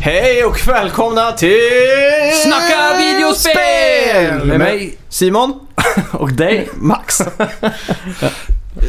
Hej och välkomna till Snacka videospel! Med mig Med mig, Simon. Och dig? Max.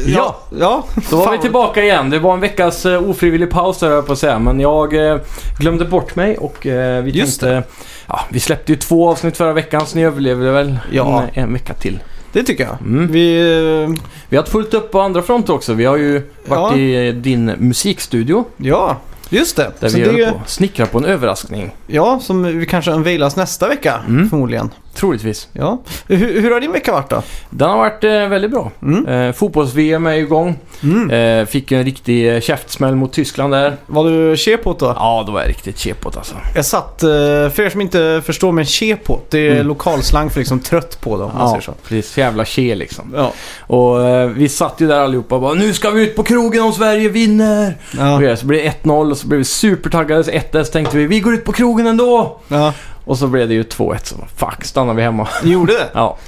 Ja, Ja, då var fan. vi tillbaka igen. Det var en veckas eh, ofrivillig paus där jag höll på att säga. Men jag eh, glömde bort mig och eh, vi Just tänkte... Ja, vi släppte ju två avsnitt förra veckan så ni överlevde väl Ja. en, en vecka till. Det tycker jag. Mm. Vi... eh, Vi har haft fullt upp på andra fronter också. Vi har ju varit Ja. i eh, din musikstudio Ja, just det. där Så vi det höll är- på snickrar på en överraskning. Ja, som vi kanske unveilas nästa vecka Mm. förmodligen. Troligtvis. Ja. Hur, hur har din vecka varit då? Den har varit eh, väldigt bra. Mm. Eh, Fotbolls-VM är ju igång. Mm. Eh, fick ju en riktig eh, käftsmäll mot Tyskland där. Vad du chepot då? Ja, då var jag riktigt chepot alltså. Jag satt, eh, för er som inte förstår, men chepot det är Mm. lokalslang för liksom trött på då, om man säger så. precis. Jävla tje liksom. Ja. Och eh, vi satt ju där allihopa och bara Nu ska vi ut på krogen om Sverige vinner! Ja. Och så blev det 1-0 och så blev vi supertaggade. Så 1-1 tänkte vi Vi går ut på krogen ändå! ja. Och så blev det ju 2-1 så fuck, stannar vi hemma. Du gjorde det? Ja,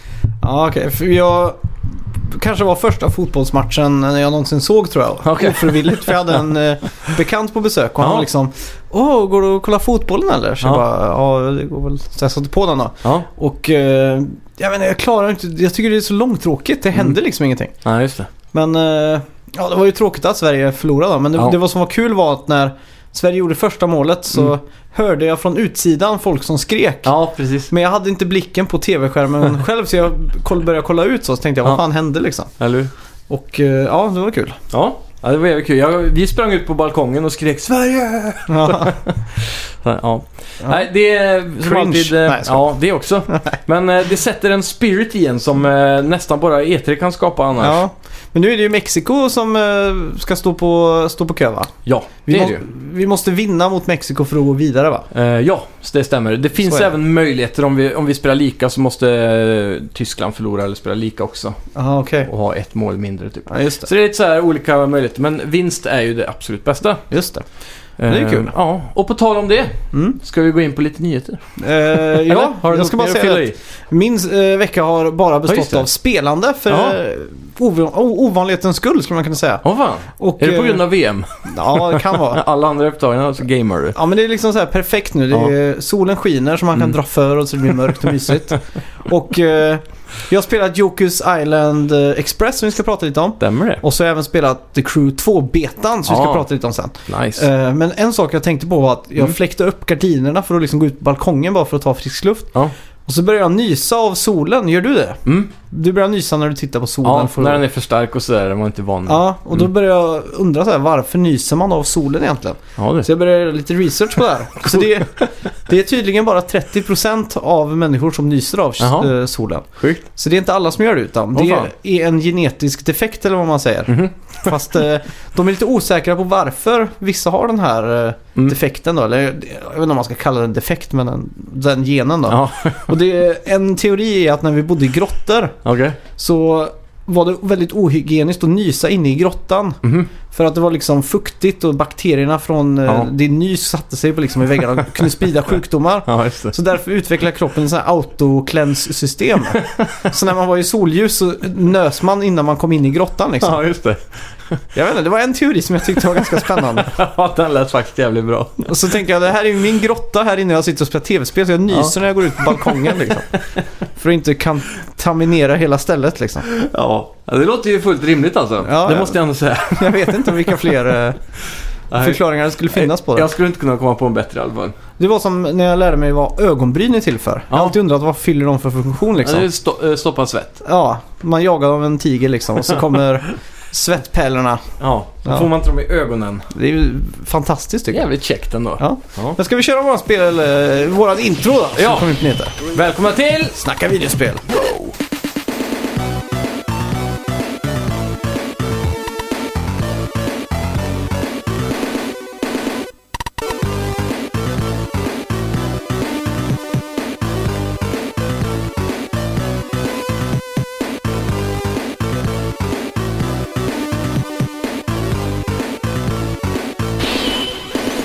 Ja, okej. För jag... Kanske var första fotbollsmatchen jag någonsin såg tror jag. Okej. Ofrivilligt. För jag hade en eh, bekant på besök och han Ja. var liksom Åh, går du och kollar fotbollen eller? Så jag Ja. bara, ja det går väl. Så jag satte på den då. ja. Och eh, jag menar, jag klarar inte, jag tycker det är så långtråkigt. Det Mm. hände liksom ingenting. ja just det. Men eh, ja, det var ju tråkigt att Sverige förlorade då. Men det, Ja. det var som var kul var att när Sverige gjorde första målet så Mm. hörde jag från utsidan folk som skrek. Ja, precis. Men jag hade inte blicken på tv-skärmen själv så jag koll- började kolla ut så, så tänkte jag vad Ja. fan hände liksom. Eller hur? Och eh, ja, det var kul. Ja. Ja, det var jävligt kul. Jag, vi sprang ut på balkongen och skrek Sverige! Ja, Ja. ja. Ja. Nej, det är som Cringe. alltid... eh, Nej, jag skojar. ja, det också. Men eh, det sätter en spirit i en som eh, nästan bara E3 kan skapa annars. ja. Men nu är det ju Mexiko som eh, ska stå på, stå på kö va? Ja, Vi, det är må- det ju. vi måste vinna mot Mexiko för att gå vidare va? Eh, ja, så det stämmer. Det finns är det. även möjligheter om vi, om vi spelar lika så måste eh, Tyskland förlora eller spela lika också Ja, okej. och ha ett mål mindre typ. Ja, just Så det är lite så här olika möjligheter, men vinst är ju det absolut bästa. det. Just det. är ju Eh, kul. Ja, och på tal om det Mm. ska vi gå in på lite nyheter. Eh, Eller? ja, du jag något ska bara mer att säga fylla att i? min eh, vecka har bara bestått det. av spelande för Ja. eh, ov- ovanlighetens skull skulle man kunna säga. Åh fan, Och, är det på eh, grund av VM? Ja, det kan vara. Alla andra är upptagna alltså så gamar du. Ja men det är liksom så här perfekt nu. Det är, Solen skiner så man kan Mm. dra för och så det blir mörkt och mysigt. och eh, jag har spelat Jokus Island eh, Express som vi ska prata lite om. Stämmer det? Och så har jag även spelat The Crew 2-betan som vi ska Ja. prata lite om sen. Nice. Eh, men en sak jag tänkte på var att jag Mm. fläkte upp gardinerna för att liksom gå ut på balkongen bara för att ta frisk luft. Ja. Och så började jag nysa av solen. Gör du det? Mm. Du börjar nysa när du tittar på solen. Ja, för... när den är Mm. för stark och sådär, den var inte van vid. ja och då började jag undra så här, varför nyser man av solen egentligen? Ja, Så du. jag började göra lite research på det här. Så det, det är tydligen bara 30% av människor som nyser av Jaha. eh, solen. Sjukt. Så det är inte alla som gör det utan Åh, det fan. är en genetisk defekt eller vad man säger. Mhm. Fast eh, de är lite osäkra på varför vissa har den här eh, Mm. defekten då. Eller jag vet inte om man ska kalla den defekt men den, den genen då. Ja, Och det är, en teori är att när vi bodde i grottor okej. så var det väldigt ohygieniskt att nysa inne i grottan. Mhm. För att det var liksom fuktigt och bakterierna från eh, Ja. din nys satte sig på liksom i väggarna och kunde sprida sjukdomar. Ja, just det. Så därför utvecklar kroppen sådana här autokläns-system. så när man var i solljus så nös man innan man kom in i grottan liksom. Ja, just det. Jag vet inte, det var en teori som jag tyckte var ganska spännande. Ja, den lät faktiskt jävligt bra. Och så tänker jag, det här är ju min grotta här inne jag sitter och spelar tv-spel så jag nyser när jag går ut på balkongen liksom. För att inte kontaminera hela stället liksom. Ja, det låter ju fullt rimligt alltså. Ja, det ja. måste jag ändå säga. Jag vet inte vilka fler eh, förklaringar det skulle finnas på det. Jag skulle inte kunna komma på en bättre i alla fall. Det var som när jag lärde mig vad ögonbryn är till för. Jag har Ja. alltid undrat vad fyller de för funktion Ja, det är liksom. sto- eh, stoppa svett. Ja, man jagar av en tiger liksom och så kommer svettpärlorna. Ja, då Ja. får man inte dem i ögonen. Det är ju fantastiskt tycker jag. Jävligt käckt ändå. Ja. Ja. Men ska vi köra våran spel, eller våran intro då? Som Ja. kommer ut heter. Välkomna till... Snacka videospel.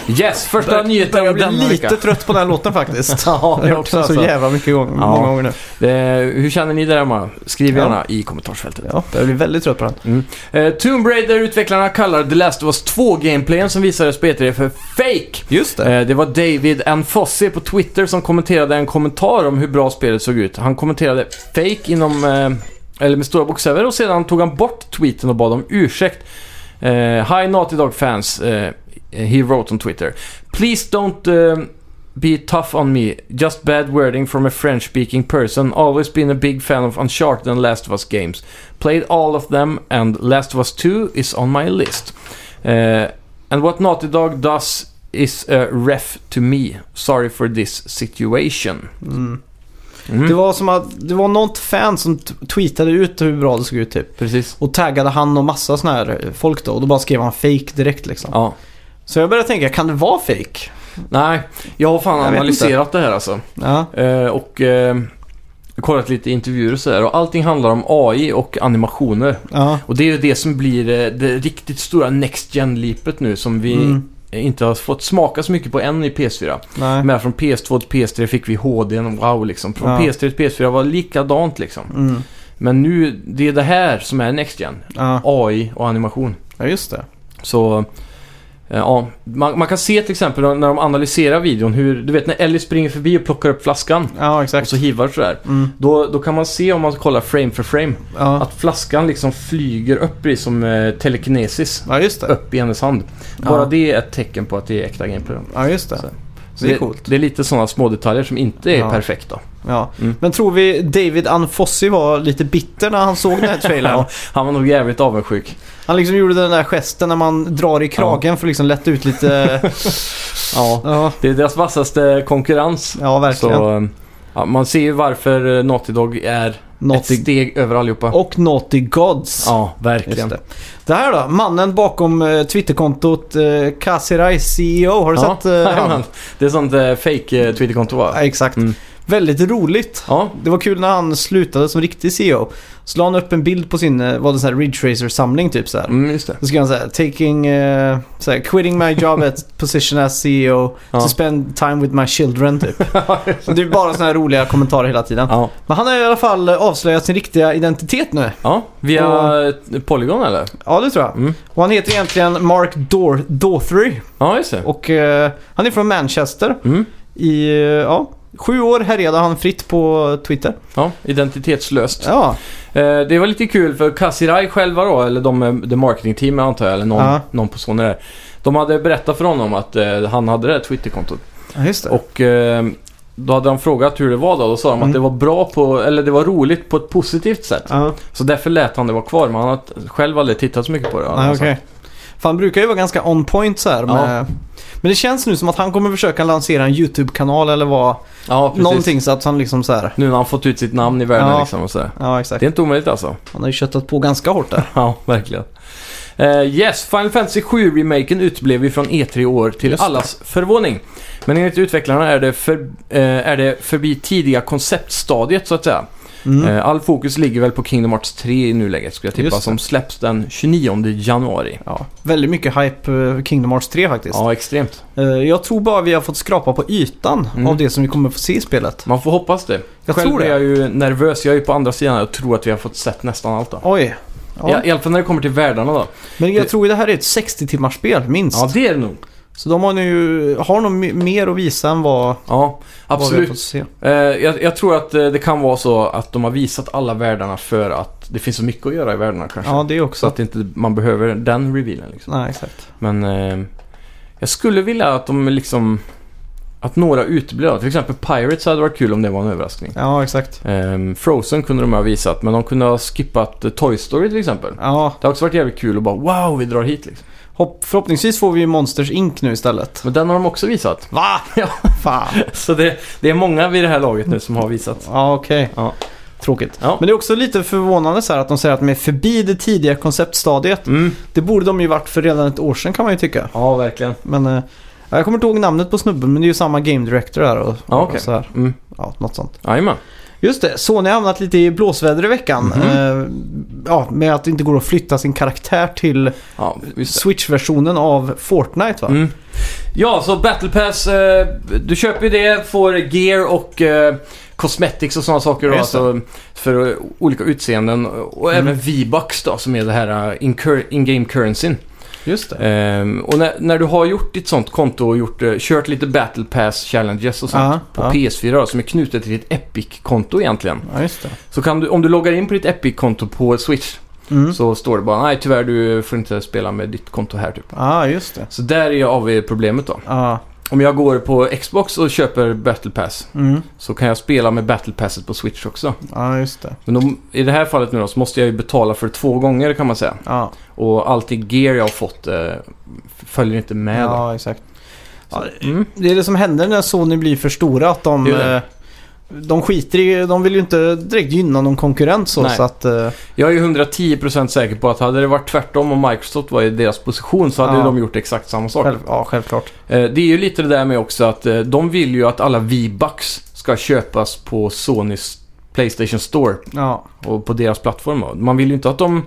Yes, första Bör- nyheten Jag om blir denna lite vecka. trött på den här låten faktiskt. Ja, alltså. Jag har hört den så jävla mycket gång, Ja. många gånger nu. Eh, hur känner ni där hemma? Skriv Ja. gärna i kommentarsfältet. Ja, jag blir väldigt trött på den. Eh, Tomb Raider-utvecklarna kallar The Last of Us 2-gameplayen som visades på E3 för fake. Just det. Eh, Det var David Anfossi på Twitter som kommenterade en kommentar om hur bra spelet såg ut. Han kommenterade fake inom, eh, eller med stora bokstäver och sedan tog han bort tweeten och bad om ursäkt. Eh, Hi Naughty Dog fans, eh, he wrote on Twitter. Please don't eh, be tough on me. Just bad wording from a French speaking person. Always been a big fan of Uncharted and Last of Us games. Played all of them and Last of Us 2 is on my list. Eh, and what Naughty Dog does is a ref to me. Sorry for this situation. Mm. Mm. Det var som att det var något fan som t- tweetade ut hur bra det såg ut typ. Precis. Och taggade han och massa sådana här eh, folk då. Och då bara skrev han fake direkt liksom. Ja. Så jag började tänka, kan det vara fake? Nej, jag har fan Jag vet analyserat det här alltså. Ja. Eh, och eh, kollat lite intervjuer och sådär. Och allting handlar om AI och animationer. ja. Och det är ju det som blir eh, det riktigt stora Next Gen-lipet nu som vi Mm. inte har fått smaka så mycket på än i PS4. Nej. Men från PS2 till PS3 fick vi HD, wow liksom. Från Ja. PS3 till PS4 var likadant liksom. Mm. Men nu, det är det här som är Next Gen. Ja. AI och animation. ja, just det. Så, eh, ja. Man, man kan se till exempel när de analyserar videon hur, du vet när Ellie springer förbi och plockar upp flaskan Ja, och exakt. så hivar sådär. Mm. Då, då kan man se om man kollar frame för frame Ja. att flaskan liksom flyger upp i som eh, telekinesis. ja, just det. Upp i hennes hand. Ja. Bara det är ett tecken på att det är äkta gameplay. Ja, just det. Så. Det är coolt. Det, är lite sådana små detaljer som inte är Ja. perfekta. Ja. Mm. Men tror vi David Anfossi var lite bitter när han såg den här trailern? Ja, han var nog jävligt avundsjuk. Han liksom gjorde den där gesten när man drar i kragen för att liksom lätta ut lite... Ja. ja, Det är deras vassaste konkurrens. ja, verkligen. Så, eh, ja, man ser ju varför eh, Naughty Dog är ett Naughty... steg över allihopa. Och Naughty Gods. Ja, verkligen. Just det. det här då, mannen bakom eh, Twitterkontot eh, Kasirai CEO. Har du ja, sett eh, jajamän. han? Det är sånt eh, fake eh, Twitterkonto va? Ja, exakt. Mm. Väldigt roligt. Ja, Det var kul när han slutade som riktig CEO. Så la han upp en bild på sin, eh, vad det så här Ridge Racer-samling typ så här. mm, just det. Då skrev han såhär, taking, eh, så här, quitting my job at position as CEO Ja. to spend time with my children typ. Så det är bara sådana här roliga kommentarer hela tiden. Ja, Men han har i alla fall eh, avslöjat sin riktiga identitet nu. ja via Och- eh, Polygon eller? Ja, det tror jag. Mm. Och han heter egentligen Mark Dor- Dothry. Ja, just det. Och eh, han är från Manchester. Mm. I, eh, ja, sju år härjade han fritt på Twitter. Ja, identitetslöst. Ja, Eh, det var lite kul för Kasirai själva då, eller de, eh, the marketing team antar jag, eller någon, Ja. någon på Sony där. De hade berättat för honom att eh, han hade det här Twitterkontot. ja, just det. Och eh, då hade de frågat hur det var då. Då sa de Mm. att det var bra på, eller det var roligt på ett positivt sätt. ja, Så därför lät han det vara kvar. Men han har själv aldrig tittat så mycket på det. har nej, han okej. sagt. För han brukar ju vara ganska on point så här Ja. med... Men det känns nu som att han kommer försöka lansera en YouTube-kanal eller vad. Ja, precis. Någonting så att han liksom så här. Nu när han fått ut sitt namn i världen Ja. liksom och sådär. Ja, Det exakt. är inte omöjligt alltså. Han har ju köttat på ganska hårt där. Ja, verkligen. Eh, yes, Final Fantasy 7-remaken uteblev ju från E3 i år till Just det. allas förvåning. Men enligt utvecklarna är det, för, eh, är det förbi tidiga konceptstadiet så att säga. Mm. Eh, all fokus ligger väl på Kingdom Hearts 3 i nuläget skulle jag tippa Just det. som släpps den 29 januari. Ja, väldigt mycket hype eh, Kingdom Hearts 3 faktiskt. Ja, extremt. Eh, Jag tror bara vi har fått skrapa på ytan Mm. av det som vi kommer få se i spelet. Man får hoppas det. Jag Själv tror det. är jag ju nervös. Jag är ju på andra sidan och tror att vi har fått sett nästan allt då. Oj. Ja. I, I alla fall när det kommer till världarna då. Men Det- jag tror ju det här är ett 60-timmars spel minst. Ja, det är det nog. Så de har nu har nog me- mer att visa än vad, Ja, vad vi har absolut. fått se. Eh, jag, jag tror att eh, det kan vara så att de har visat alla världarna för att det finns så mycket att göra i världarna kanske. Ja, det Så också. att inte man behöver den revealen liksom. Nej, exakt. Men eh, jag skulle vilja att de liksom... Att några uteblir då. Till exempel Pirates hade varit kul om det var en överraskning. Ja, exakt. Ehm, Frozen kunde de ha visat, men de kunde ha skippat eh, Toy Story till exempel. Ja, Det har också varit jävligt kul att bara wow, vi drar hit liksom. hopp, förhoppningsvis får vi ju Monsters Inc nu istället. Men den har de också visat. Va? Ja. Fan. Så det, det är många vid det här laget nu som har visat. Ja, okej. Ja. Tråkigt. Ja. Men det är också lite förvånande så här att de säger att de är förbi det tidiga konceptstadiet. Mm. Det borde de ju varit för redan ett år sedan kan man ju tycka. Ja, verkligen. Men eh, jag kommer inte ihåg namnet på snubben men det är ju samma game director där och, Ja, okej. och så här. Mm. Ja, något sånt. Jajamän. Just det, Sony har hamnat lite i blåsväder i veckan. Mhm. Eh, ja, med att det inte går att flytta sin karaktär till Ja, just det. Switch-versionen av Fortnite va? Mm. Ja, så Battle Pass. Eh, du köper ju det, får gear och eh, cosmetics och sådana saker. Då, Ja, just det. alltså, för eh, olika utseenden. Och Mm. även V-bucks då, som är det här eh, incur- in-game currencyn. Just det. Ehm, och när, när du har gjort ditt sånt konto och gjort, eh, kört lite Battle Pass challenges och sånt. Ja, På ja. PS4 då, som är knutet till ditt Epic-konto egentligen. ja, just det. Så kan du, om du loggar in på ditt Epic-konto på Switch Mm. så står det bara nej tyvärr du får inte spela med ditt konto här typ. Ja, just det. Så där är ju av problemet då. Ja. Om jag går på Xbox och köper Battle Pass Mm. så kan jag spela med Battle Passet på Switch också. ja, just det. Men om, i det här fallet nu då så måste jag ju betala för det två gånger kan man säga. Ja, Och allt det gear jag har fått eh, följer inte med då. ja exakt. Ja, Så, mm. Det är det som händer när Sony blir för stora. Att de, Det är det. eh, de skiter i... De vill ju inte direkt gynna någon konkurrent så. Nej. så att, eh, Jag är ju 110% säker på att hade det varit tvärtom och Microsoft var i deras position så hade Ja. ju de gjort exakt samma sak. själv, ja, självklart. Eh, Det är ju lite det där med också att eh, de vill ju att alla V-bucks ska köpas på Sonys Playstation Store Ja, och på deras plattform. då. Man vill ju inte att de...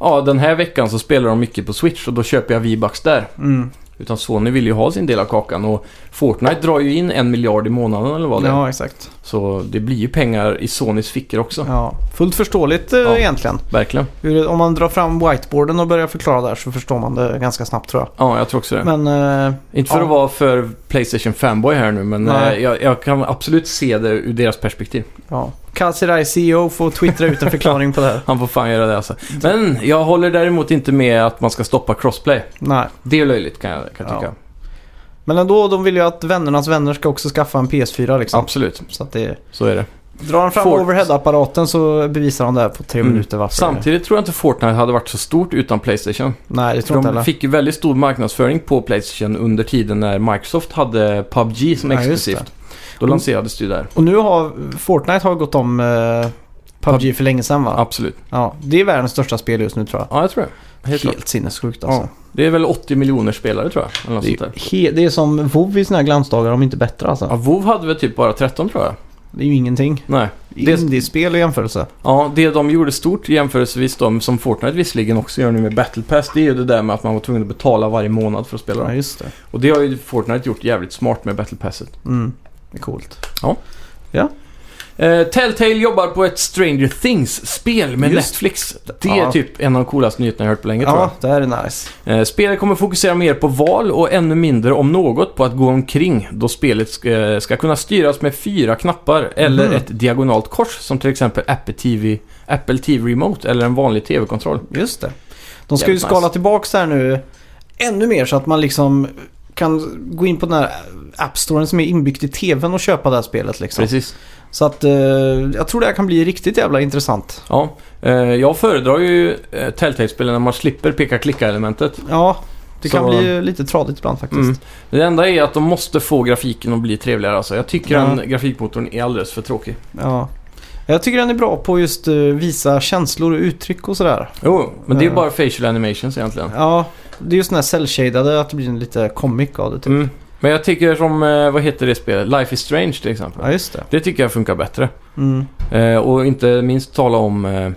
Ja, den här veckan så spelar de mycket på Switch och då köper jag V-bucks där. mm. Utan Sony vill ju ha sin del av kakan och Fortnite drar ju in en miljard i månaden eller vad det är. ja exakt. Så det blir ju pengar i Sonys fickor också. Ja, fullt förståeligt eh, Ja. egentligen. Verkligen. Hur, om man drar fram whiteboarden och börjar förklara där så förstår man det ganska snabbt tror jag. Ja, jag tror också det. Men eh, inte för ja. att vara för Playstation fanboy här nu, men Nej. eh, jag, jag kan absolut se det ur deras perspektiv. ja, Kazirai CEO får twittra ut en förklaring på det här. Han får fan göra det alltså. Men jag håller däremot inte med att man ska stoppa crossplay. Nej. Det är löjligt kan jag, kan jag Ja. tycka. Men ändå, de vill ju att vännernas vänner ska också skaffa en PS4 liksom. Absolut, Så att det, så är det. drar han fram Fort. overhead-apparaten så bevisar han det här på tre Mm. minuter varför. Samtidigt tror jag inte Fortnite hade varit så stort utan Playstation. Nej, det tror jag inte För de heller. fick ju väldigt stor marknadsföring på Playstation under tiden när Microsoft hade PubG som Ja, just exklusivt. Då Mm. lanserades det ju där. Och nu har Fortnite har gått om eh, PubG för länge sedan va? Ja. Absolut. Det är världens största spel just nu tror jag. Ja, jag tror det. Helt, klart. Helt sinnessjukt alltså. Ja, Det är väl 80 miljoner spelare tror jag. Eller något Det sånt är, där. ju he- det är som WoW i såna här glansdagar, om inte bättre alltså. Ja, WoW hade väl typ bara 13 tror jag. Det är ju ingenting. Nej. Det är indiespel i jämförelse. Ja, det de gjorde stort jämförelsevis de som Fortnite visserligen också gör nu med Battle Pass, det är ju det där med att man var tvungen att betala varje månad för att spela. Ja, dem. just det. Och det har ju Fortnite gjort jävligt smart med Battle Passet. Mm. Det är coolt. Eh, Telltale jobbar på ett Stranger Things-spel med Just. Netflix. Det är Ja. typ en av de coolaste nyheterna jag hört på länge tror Ja, det här är nice. jag. Eh, spelet kommer fokusera mer på val och ännu mindre om något på att gå omkring då spelet ska, ska kunna styras med fyra knappar eller Mhm. ett diagonalt kors som till exempel Apple TV, Apple TV Remote eller en vanlig TV-kontroll. Just det. De ska ju Jävligt skala nice. tillbaks det här nu ännu mer så att man liksom kan gå in på den här appstoren som är inbyggd i tvn och köpa det här spelet liksom. Precis. Så att eh, jag tror det här kan bli riktigt jävla intressant. Ja, eh, jag föredrar ju eh, Telltale-spelen när man slipper peka-klicka-elementet. Ja, det kan Så- bli lite tradigt ibland faktiskt. Mm. Det enda är att de måste få grafiken att bli trevligare alltså. Jag tycker Ja. den grafikmotorn är alldeles för tråkig. Ja. Jag tycker den är bra på just eh, visa känslor och uttryck och sådär. Jo, men det är Ja. bara facial animations egentligen. Ja, det är just den här cell-shadade, att det blir en lite comic av det typ. Mm. Men jag tycker som, eh, vad heter det spelet? Life is Strange till exempel. Ja, just det. Det tycker jag funkar bättre. Mm. Eh, och inte minst tala om eh,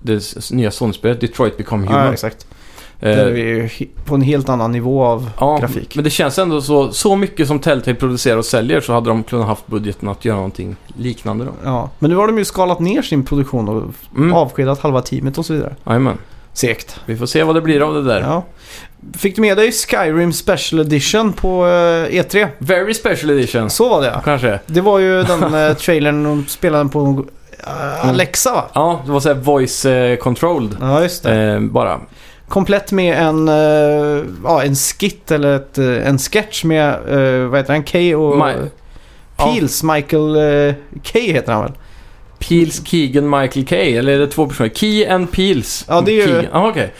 det s- nya Sony-spelet Detroit Become Ja, Human. exakt. Eh, Där är vi ju he- på en helt annan nivå av ja, grafik. men det känns ändå så, så mycket som Telltale producerar och säljer så hade de kunnat haft budgeten att göra någonting liknande då. Ja, men nu har de ju skalat ner sin produktion och Mm. avskedat halva teamet och så vidare. Jajamän. Segt. Vi får se vad det blir av det där. Ja. Fick du med dig Skyrim Special Edition på eh, E3? Very special edition. Så var det ja. Kanske. Det var ju den eh, trailern de spelade på eh, Alexa va? Ja, det var såhär voice eh, controlled. Ja, just det. Eh, bara. Komplett med en, eh, ja, en skit eller ett, eh, en sketch med, eh, vad heter han, Kay och Ma- ja. Peels, Michael eh, Kay heter han väl? Peels, Keegan, Michael Kay. Eller är det två personer? Key and Peels. Ja, det är ju- Mm, Keegan. Ah, okej.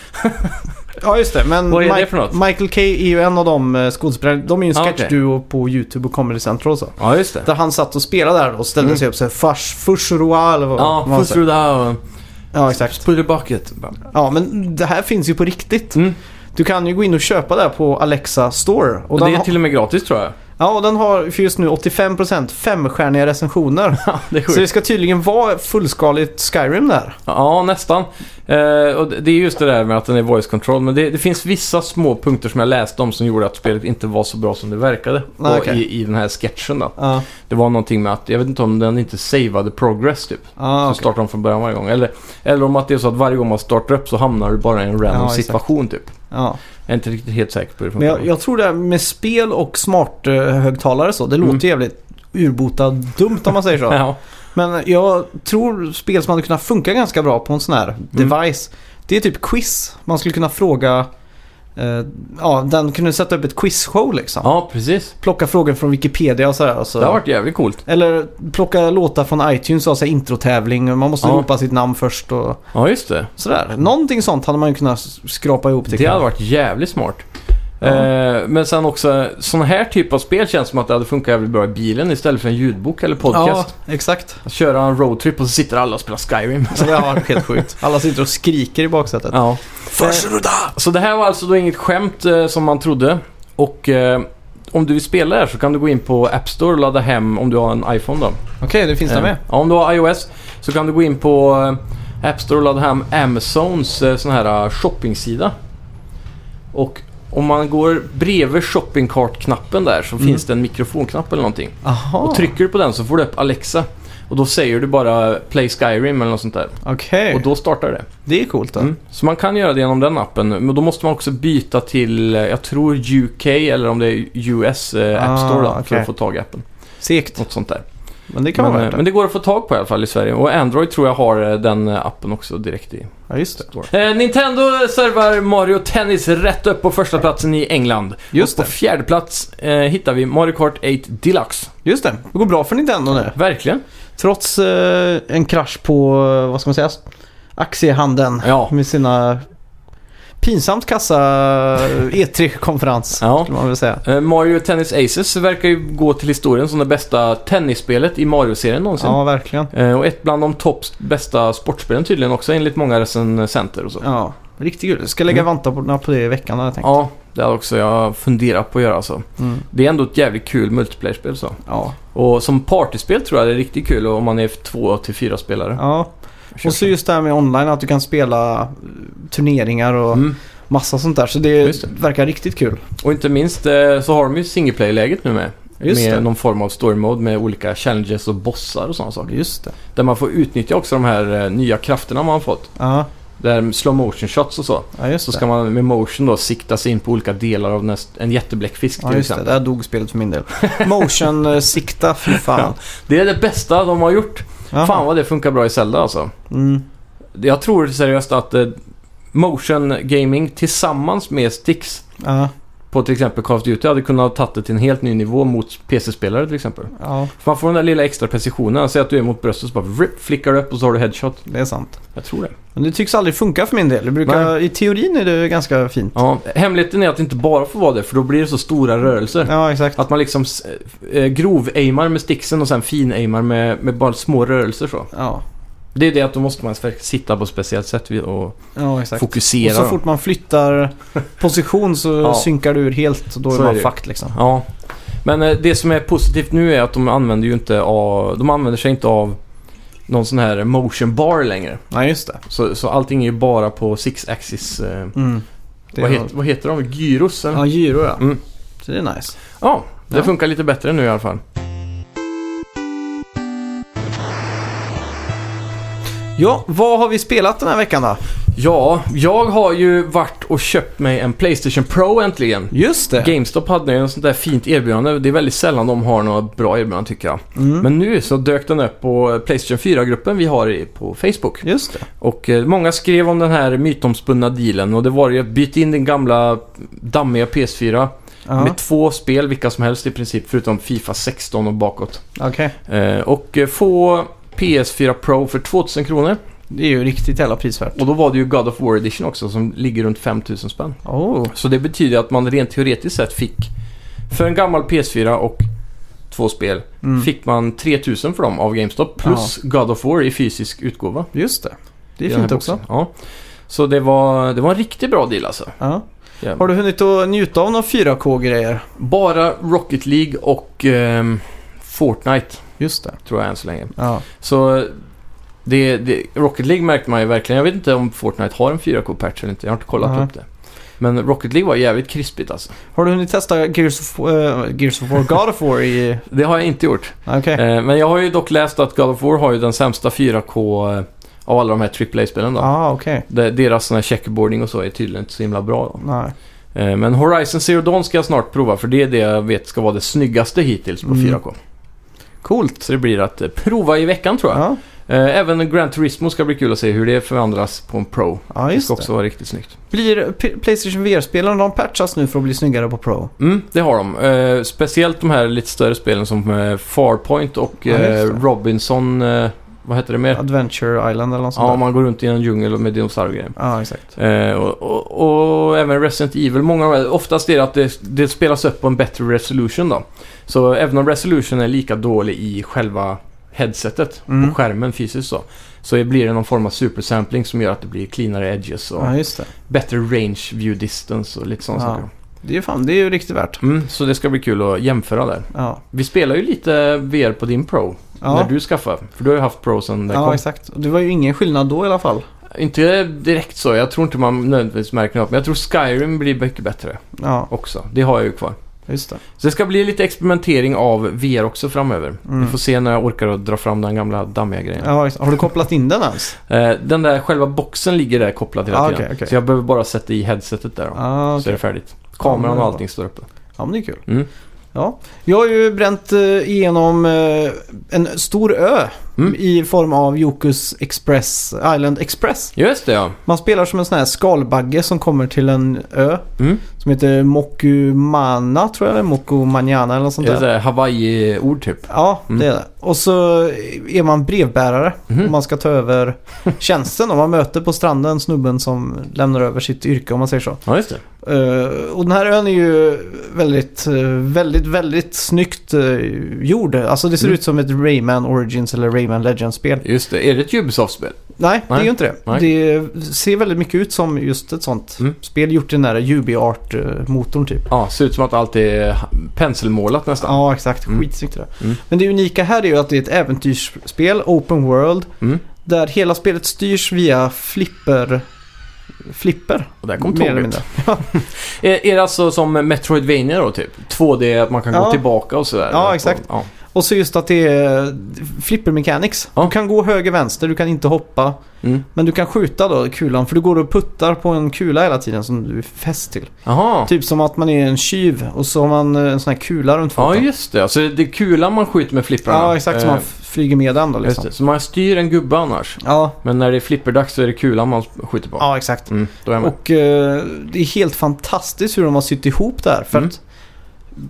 Ja just det, men Vad är det Mi- för något? Michael Kay är ju en av de eh, skådespelarna, de är ju en Ah, sketchduo på YouTube och Comedy Central så. Ja, just det. Där han satt och spelade där och ställde Mm. Ah, sig upp såhär fars, fush och roa eller vad vad Ja, man puss säger. through the hour. Ja exakt. Put it bucket. Bara. Ja men det här finns ju på riktigt. Mm. Du kan ju gå in och köpa det här på Alexa Store. Och den det är typ- har- till och med gratis tror jag. Ja, och den har för just nu 85% femstjärniga recensioner. Ja, det är Så det sjukt. ska tydligen vara fullskaligt Skyrim där. Ja, nästan. Eh, och det det är just det där med att den är voice control. Men det, det finns vissa små punkter som jag läste om som gjorde att spelet inte var så bra som det verkade. Nej, Och okej. i, I den här sketchen då. Ja, Det var någonting med att, jag vet inte om den inte savade progress typ. ja, Så Ah, okej. startar de från början varje gång. Eller, eller om att det är så att varje gång man startar upp så hamnar du bara i en random Ja, exakt. situation typ. ja. Jag är inte riktigt helt säker på hur det Men funkar. jag, jag tror det här med spel och smart eh, högtalare så, det Mm. låter jävligt urbota dumt om man säger så. Ja, Men jag tror spel som hade kunnat funka ganska bra på en sån här Mm. device. Det är typ quiz. Man skulle kunna fråga... Eh, ja, den kunde sätta upp ett quizshow liksom. ja precis. Plocka frågor från Wikipedia och sådär. och Så. alltså. Det har varit jävligt coolt. Eller plocka låtar från iTunes och ha så här introtävling. Man måste Ja. ropa sitt namn först och Ja, just det. sådär. Någonting sånt hade man ju kunnat s- skrapa ihop tycker Det hade jag. varit jävligt smart. Ja. Eh, men sen också, sån här typ av spel känns som att det hade funkat jävligt bra i bilen istället för en ljudbok eller podcast. Ja, exakt. Att köra en roadtrip och så sitter alla och spelar Skyrim. Så det har varit helt sjukt. Alla sitter och skriker i baksätet. ja. Farsaruda! Så det här var alltså då inget skämt eh, som man trodde. Och eh, om du vill spela det här så kan du gå in på App Store och ladda hem om du har en iPhone då. Okej, det finns där Eh, med. Ja, om du har iOS så kan du gå in på eh, App Store och ladda hem Amazons eh, sån här eh, shoppingsida. Och om man går bredvid shopping cart-knappen där så Mm. finns det en mikrofonknapp eller någonting. Aha. Och trycker du på den så får du upp Alexa. Och då säger du bara Play Skyrim eller något sånt där. Okej, Och då startar det. det är coolt då. Mm. Så man kan göra det genom den appen. Men då måste man också byta till, eh, jag tror UK eller om det är US eh, App Store då, Ah, för okej. att få tag i appen. Segt. Något sånt där. Men det kan men, vara eh, värt det. men det går att få tag på i alla fall i Sverige. Och Android tror jag har eh, den eh, appen också direkt i Ja, just det. Store. Eh, Nintendo servar Mario Tennis rätt upp på första platsen i England. Just och på det. fjärde plats eh, hittar vi Mario Kart 8 Deluxe. Just det. Det går bra för Nintendo nu. Verkligen. Trots eh, en krasch på, eh, vad ska man säga, aktiehandeln Ja. med sina pinsamt kassa E3-konferens. ja. Skulle man väl säga. Eh, Mario Tennis Aces verkar ju gå till historien som det bästa tennisspelet i Mario-serien någonsin. Ja, verkligen. Eh, Och ett bland de topp bästa sportspelen tydligen också enligt många recensenter och så. Ja, riktigt kul. Jag ska lägga Mm. vantarna på det i veckan hade jag tänkt. Ja, det har också jag funderat på att göra alltså. Mm. Det är ändå ett jävligt kul multiplayer-spel så. Ja. Och som partyspel tror jag det är riktigt kul om man är två till fyra spelare. ja. Kör Och så just det här med online, att du kan spela eh, turneringar och Mm. massa sånt där. Så Just det, det. verkar riktigt kul. Och inte minst eh, så har de ju singleplay-läget nu med. Just med det. någon form av story mode med olika challenges och bossar och sådana saker. Just det. Där man får utnyttja också de här eh, nya krafterna man har fått. Ja, Där slow motion shots och så. ja just Så det. ska man med motion då sikta sig in på olika delar av näst, en jättebläckfisk Ja till just det, exempel. där dog spelet för min del. Motion eh, sikta, fy fan. Det är det bästa de har gjort. Jaha. Fan vad det funkar bra i Zelda alltså. Mm. Jag tror seriöst att eh, motion gaming tillsammans med sticks Ja, på till exempel Call of Duty hade kunnat ha tagit det till en helt ny nivå mot PC-spelare till exempel. ja, För man får den där lilla extra precisionen. Säg att du är mot bröstet så bara rip, flickar du upp och så har du headshot. det är sant. Jag tror det. Men det tycks aldrig funka för min del. Det brukar, I teorin är det ganska fint. Ja, hemligheten är att det inte bara får vara det för då blir det så stora rörelser. Ja, exakt. Att man liksom s- eh, grov-aimar med sticksen och sen fin-aimar med, med bara små rörelser så. Ja, Det är det att då måste man verkligen sitta på ett speciellt sätt vid- och ja exakt. fokusera. Och så då. fort man flyttar position så Ja. synkar du ur helt och då Så är är man det ju. fucked liksom. Ja. Men eh, det som är positivt nu är att de använder ju inte av, de använder sig inte av någon sån här motion bar längre. Nej, just det. Så, så allting är ju bara på six axis. Eh, Mm. det vad, är- heter, vad heter de? Gyros? Eller? Ja, gyro ja. Mm. Så det är nice. Ja, det Ja. funkar lite bättre nu i alla fall. Ja, vad har vi spelat den här veckan då? Ja, jag har ju varit och köpt mig en Playstation Pro äntligen. Just det. GameStop hade ju en sånt där fint erbjudande. Det är väldigt sällan de har något bra erbjudande tycker jag. Mm. Men nu så dök den upp på Playstation 4-gruppen vi har i- på Facebook. Just det. Och eh, många skrev om den här mytomspunna dealen och det var ju att byta in den gamla dammiga PS4 Ja, med två spel, vilka som helst i princip, förutom Fifa 16 och bakåt. okej. Eh, och eh, få PS4 Pro för 2000 kronor. Det är ju riktigt jävla prisvärt. Och då var det ju God of War Edition också som ligger runt 5000 spänn. Oh. Så det betyder att man rent teoretiskt sett fick, för en gammal PS4 och två spel, Mm. fick man 3000 för dem av GameStop plus God of War i fysisk utgåva. Just det. Det i är den här fint också. boxen. Ja. Så det var, det var en riktigt bra deal alltså. Ja. Ja. Har du hunnit att njuta av några 4K-grejer? Bara Rocket League och ehm, Fortnite Just det. tror jag än så länge. Ja. Så eh, det, det, Rocket League märkte man ju verkligen. Jag vet inte om Fortnite har en 4K-patch eller inte. Jag har inte kollat Nej. upp det. Men Rocket League var jävligt krispigt alltså. Har du hunnit testa Gears of, eh, Gears of War, God of War i... Det har jag inte gjort. Okej. Eh, men jag har ju dock läst att God of War har ju den sämsta 4K eh, av alla de här AAA-spelen då. ah, okej. Där Deras sån här checkerboarding och så är tydligen inte så himla bra. Då. Nej. Eh, Men Horizon Zero Dawn ska jag snart prova för det är det jag vet ska vara det snyggaste hittills på Mm. 4K. Coolt. Så det blir att eh, prova i veckan tror jag. Ja, Eh, Även Gran Turismo ska bli kul att se hur det förvandlas på en Pro. ja det just ska det. också vara riktigt snyggt. Blir P- Playstation VR-spelen, de patchas nu för att bli snyggare på Pro? Mm, det har de. Eh, Speciellt de här lite större spelen som eh, Farpoint och Ja, just eh, det. Robinson... eh, Vad heter det mer? Adventure Island eller något sånt Ja, där. man går runt i en djungel med dinosaurier. Ja, exakt. Eh, och, och, och även Resident Evil, många av de här- Oftast är det att det, det spelas upp på en bättre resolution då. Så även om resolution är lika dålig i själva headsetet, Mm. på skärmen fysiskt så, så blir det någon form av supersampling som gör att det blir cleanare edges och Ja, just det. bättre range view distance och lite sådana Ja. saker. Det är ju fan, det är ju riktigt värt. Mm, så det ska bli kul att jämföra där. Ja. Vi spelar ju lite VR på din Pro, Ja, när du skaffade. För du har ju haft Pro sedan det ja kom. exakt. Det var ju ingen skillnad då i alla fall. Inte direkt så, jag tror inte man nödvändigtvis märker något. Men jag tror Skyrim blir mycket bättre. Ja, också. Det har jag ju kvar. just det. Så det ska bli lite experimentering av VR också framöver. Mm. Vi får se när jag orkar att dra fram den gamla dammiga grejen. Ja, exakt. Har du kopplat in den ens? Eh, den där själva boxen ligger där kopplad hela Ah, tiden. okej, okej. Så jag behöver bara sätta i headsetet där då. Ja, Så är Ah, okej. det färdigt. Kameran Ja, och men- allting står uppe. ja, men det är kul. Mm. Ja. Jag har ju bränt eh, igenom eh, en stor ö Mm. i form av Jokus Express, Island Express. Just det ja. Man spelar som en sån här skalbagge som kommer till en ö Mm. som heter Mokumana tror jag, eller Mokumaniana eller något sånt Det där. är så här Hawaii-ord typ. Ja, Mm. det är det. Och så är man brevbärare. Mhm. Och man ska ta över tjänsten och man möter på stranden snubben som lämnar över sitt yrke om man säger så. Ja, just det. Eh, och den här ön är ju väldigt, eh, väldigt, väldigt snyggt eh, gjord. Alltså det ser Mm. ut som ett Rayman Origins eller Rayman Legends-spel. Just det. Är det ett Ubisoft-spel? Nej, det är Nej. ju inte det. Nej. Det ser väldigt mycket ut som just ett sånt Mm. spel gjort i den där UbiArt-motorn typ. Ja, ser ut som att allt är penselmålat nästan. Ja, exakt. Mm. Skitsnyggt det där. Mm. Men det unika här är ju att det är ett äventyrsspel, open world, Mm. där hela spelet styrs via flipper... Flipper? Och där kom mer eller tåget. mindre. Är, är det alltså som Metroidvania då typ? 2D, att man kan gå Ja. tillbaka och sådär? Ja, exakt. Ja. Och så just att det är flipper mechanics. Ja. Du kan gå höger, vänster, du kan inte hoppa. Mm. Men du kan skjuta då kulan för du går och puttar på en kula hela tiden som du är fäst till. Aha. Typ som att man är en tjuv och så har man eh, en sån här kula runt Ja, foten. just det. Så det är kulan man skjuter med flipprarna. ja exakt. Som Eh, man f- flyger med den då just liksom. det. Så man styr en gubbe annars. Ja, Men när det är flipperdags så är det kulan man skjuter på. ja, exakt. Mm, då är man. Och eh, det är helt fantastiskt hur de har sytt ihop det här. För Mm. att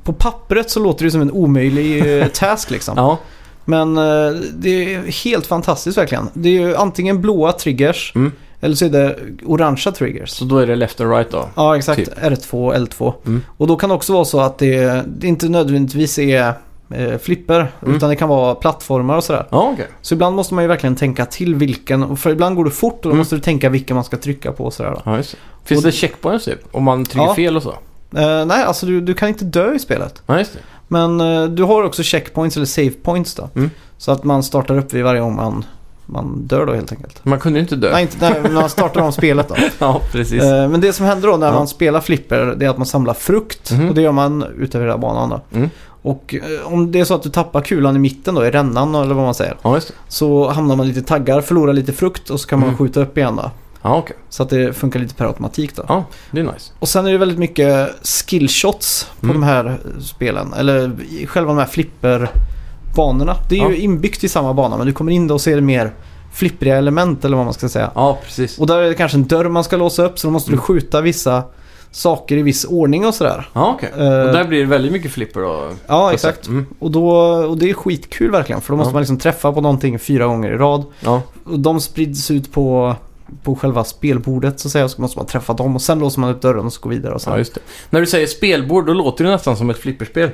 på pappret så låter det som en omöjlig eh, task liksom. Ja, Men eh, det är helt fantastiskt verkligen. Det är ju antingen blåa triggers Mm. eller så är det orangea triggers. så då är det left and right då. Ja, exakt. Typ. R2 och L2. Mm. Och då kan det också vara så att det, det inte nödvändigtvis är eh, flipper, Mm. utan det kan vara plattformar och sådär. Ja, okej. Så ibland måste man ju verkligen tänka till vilken, och för ibland går det fort och då Mm. måste du tänka vilken man ska trycka på och sådär. Då. Ja, just det. Finns Och- det checkpoints typ? Om man trycker Ja. fel och så? Eh, nej, alltså du, du kan inte dö i spelet. Ja, just det. Men eh, du har också checkpoints eller save points då. Mm. Så att man startar upp vid varje gång man, man dör då helt enkelt. Man kunde ju inte dö. Nej, inte nej, men man startar om spelet då. Ja, precis. Eh, Men det som händer då när Ja. man spelar flipper det är att man samlar frukt. Mhm. Och det gör man utöver hela banan då. Mm. Och eh, om det är så att du tappar kulan i mitten då, i rännan eller vad man säger. Ja, just det. Så hamnar man lite taggar, förlorar lite frukt och så kan Mm. man skjuta upp igen då. Ja, okej. Så att det funkar lite per automatik då. Ja, det är nice. Och sen är det väldigt mycket skillshots på Mm. de här spelen. Eller i själva de här flipperbanorna. Det är Ja. ju inbyggt i samma bana men du kommer in då och ser mer flippriga element eller vad man ska säga. Ja, precis. Och där är det kanske en dörr man ska låsa upp så då måste du Mm. skjuta vissa saker i viss ordning och sådär. Ja, okej. Eh, Och där blir det väldigt mycket flipper då? Ja, exakt. Mm. Och, då, och det är skitkul verkligen för då måste Ja. man liksom träffa på någonting fyra gånger i rad. Ja, Och de sprids ut på, på själva spelbordet så att säga. Och så måste man träffa dem och sen låser man upp dörren och så går vidare och så. ja, just det. När du säger spelbord, då låter det nästan som ett flipperspel.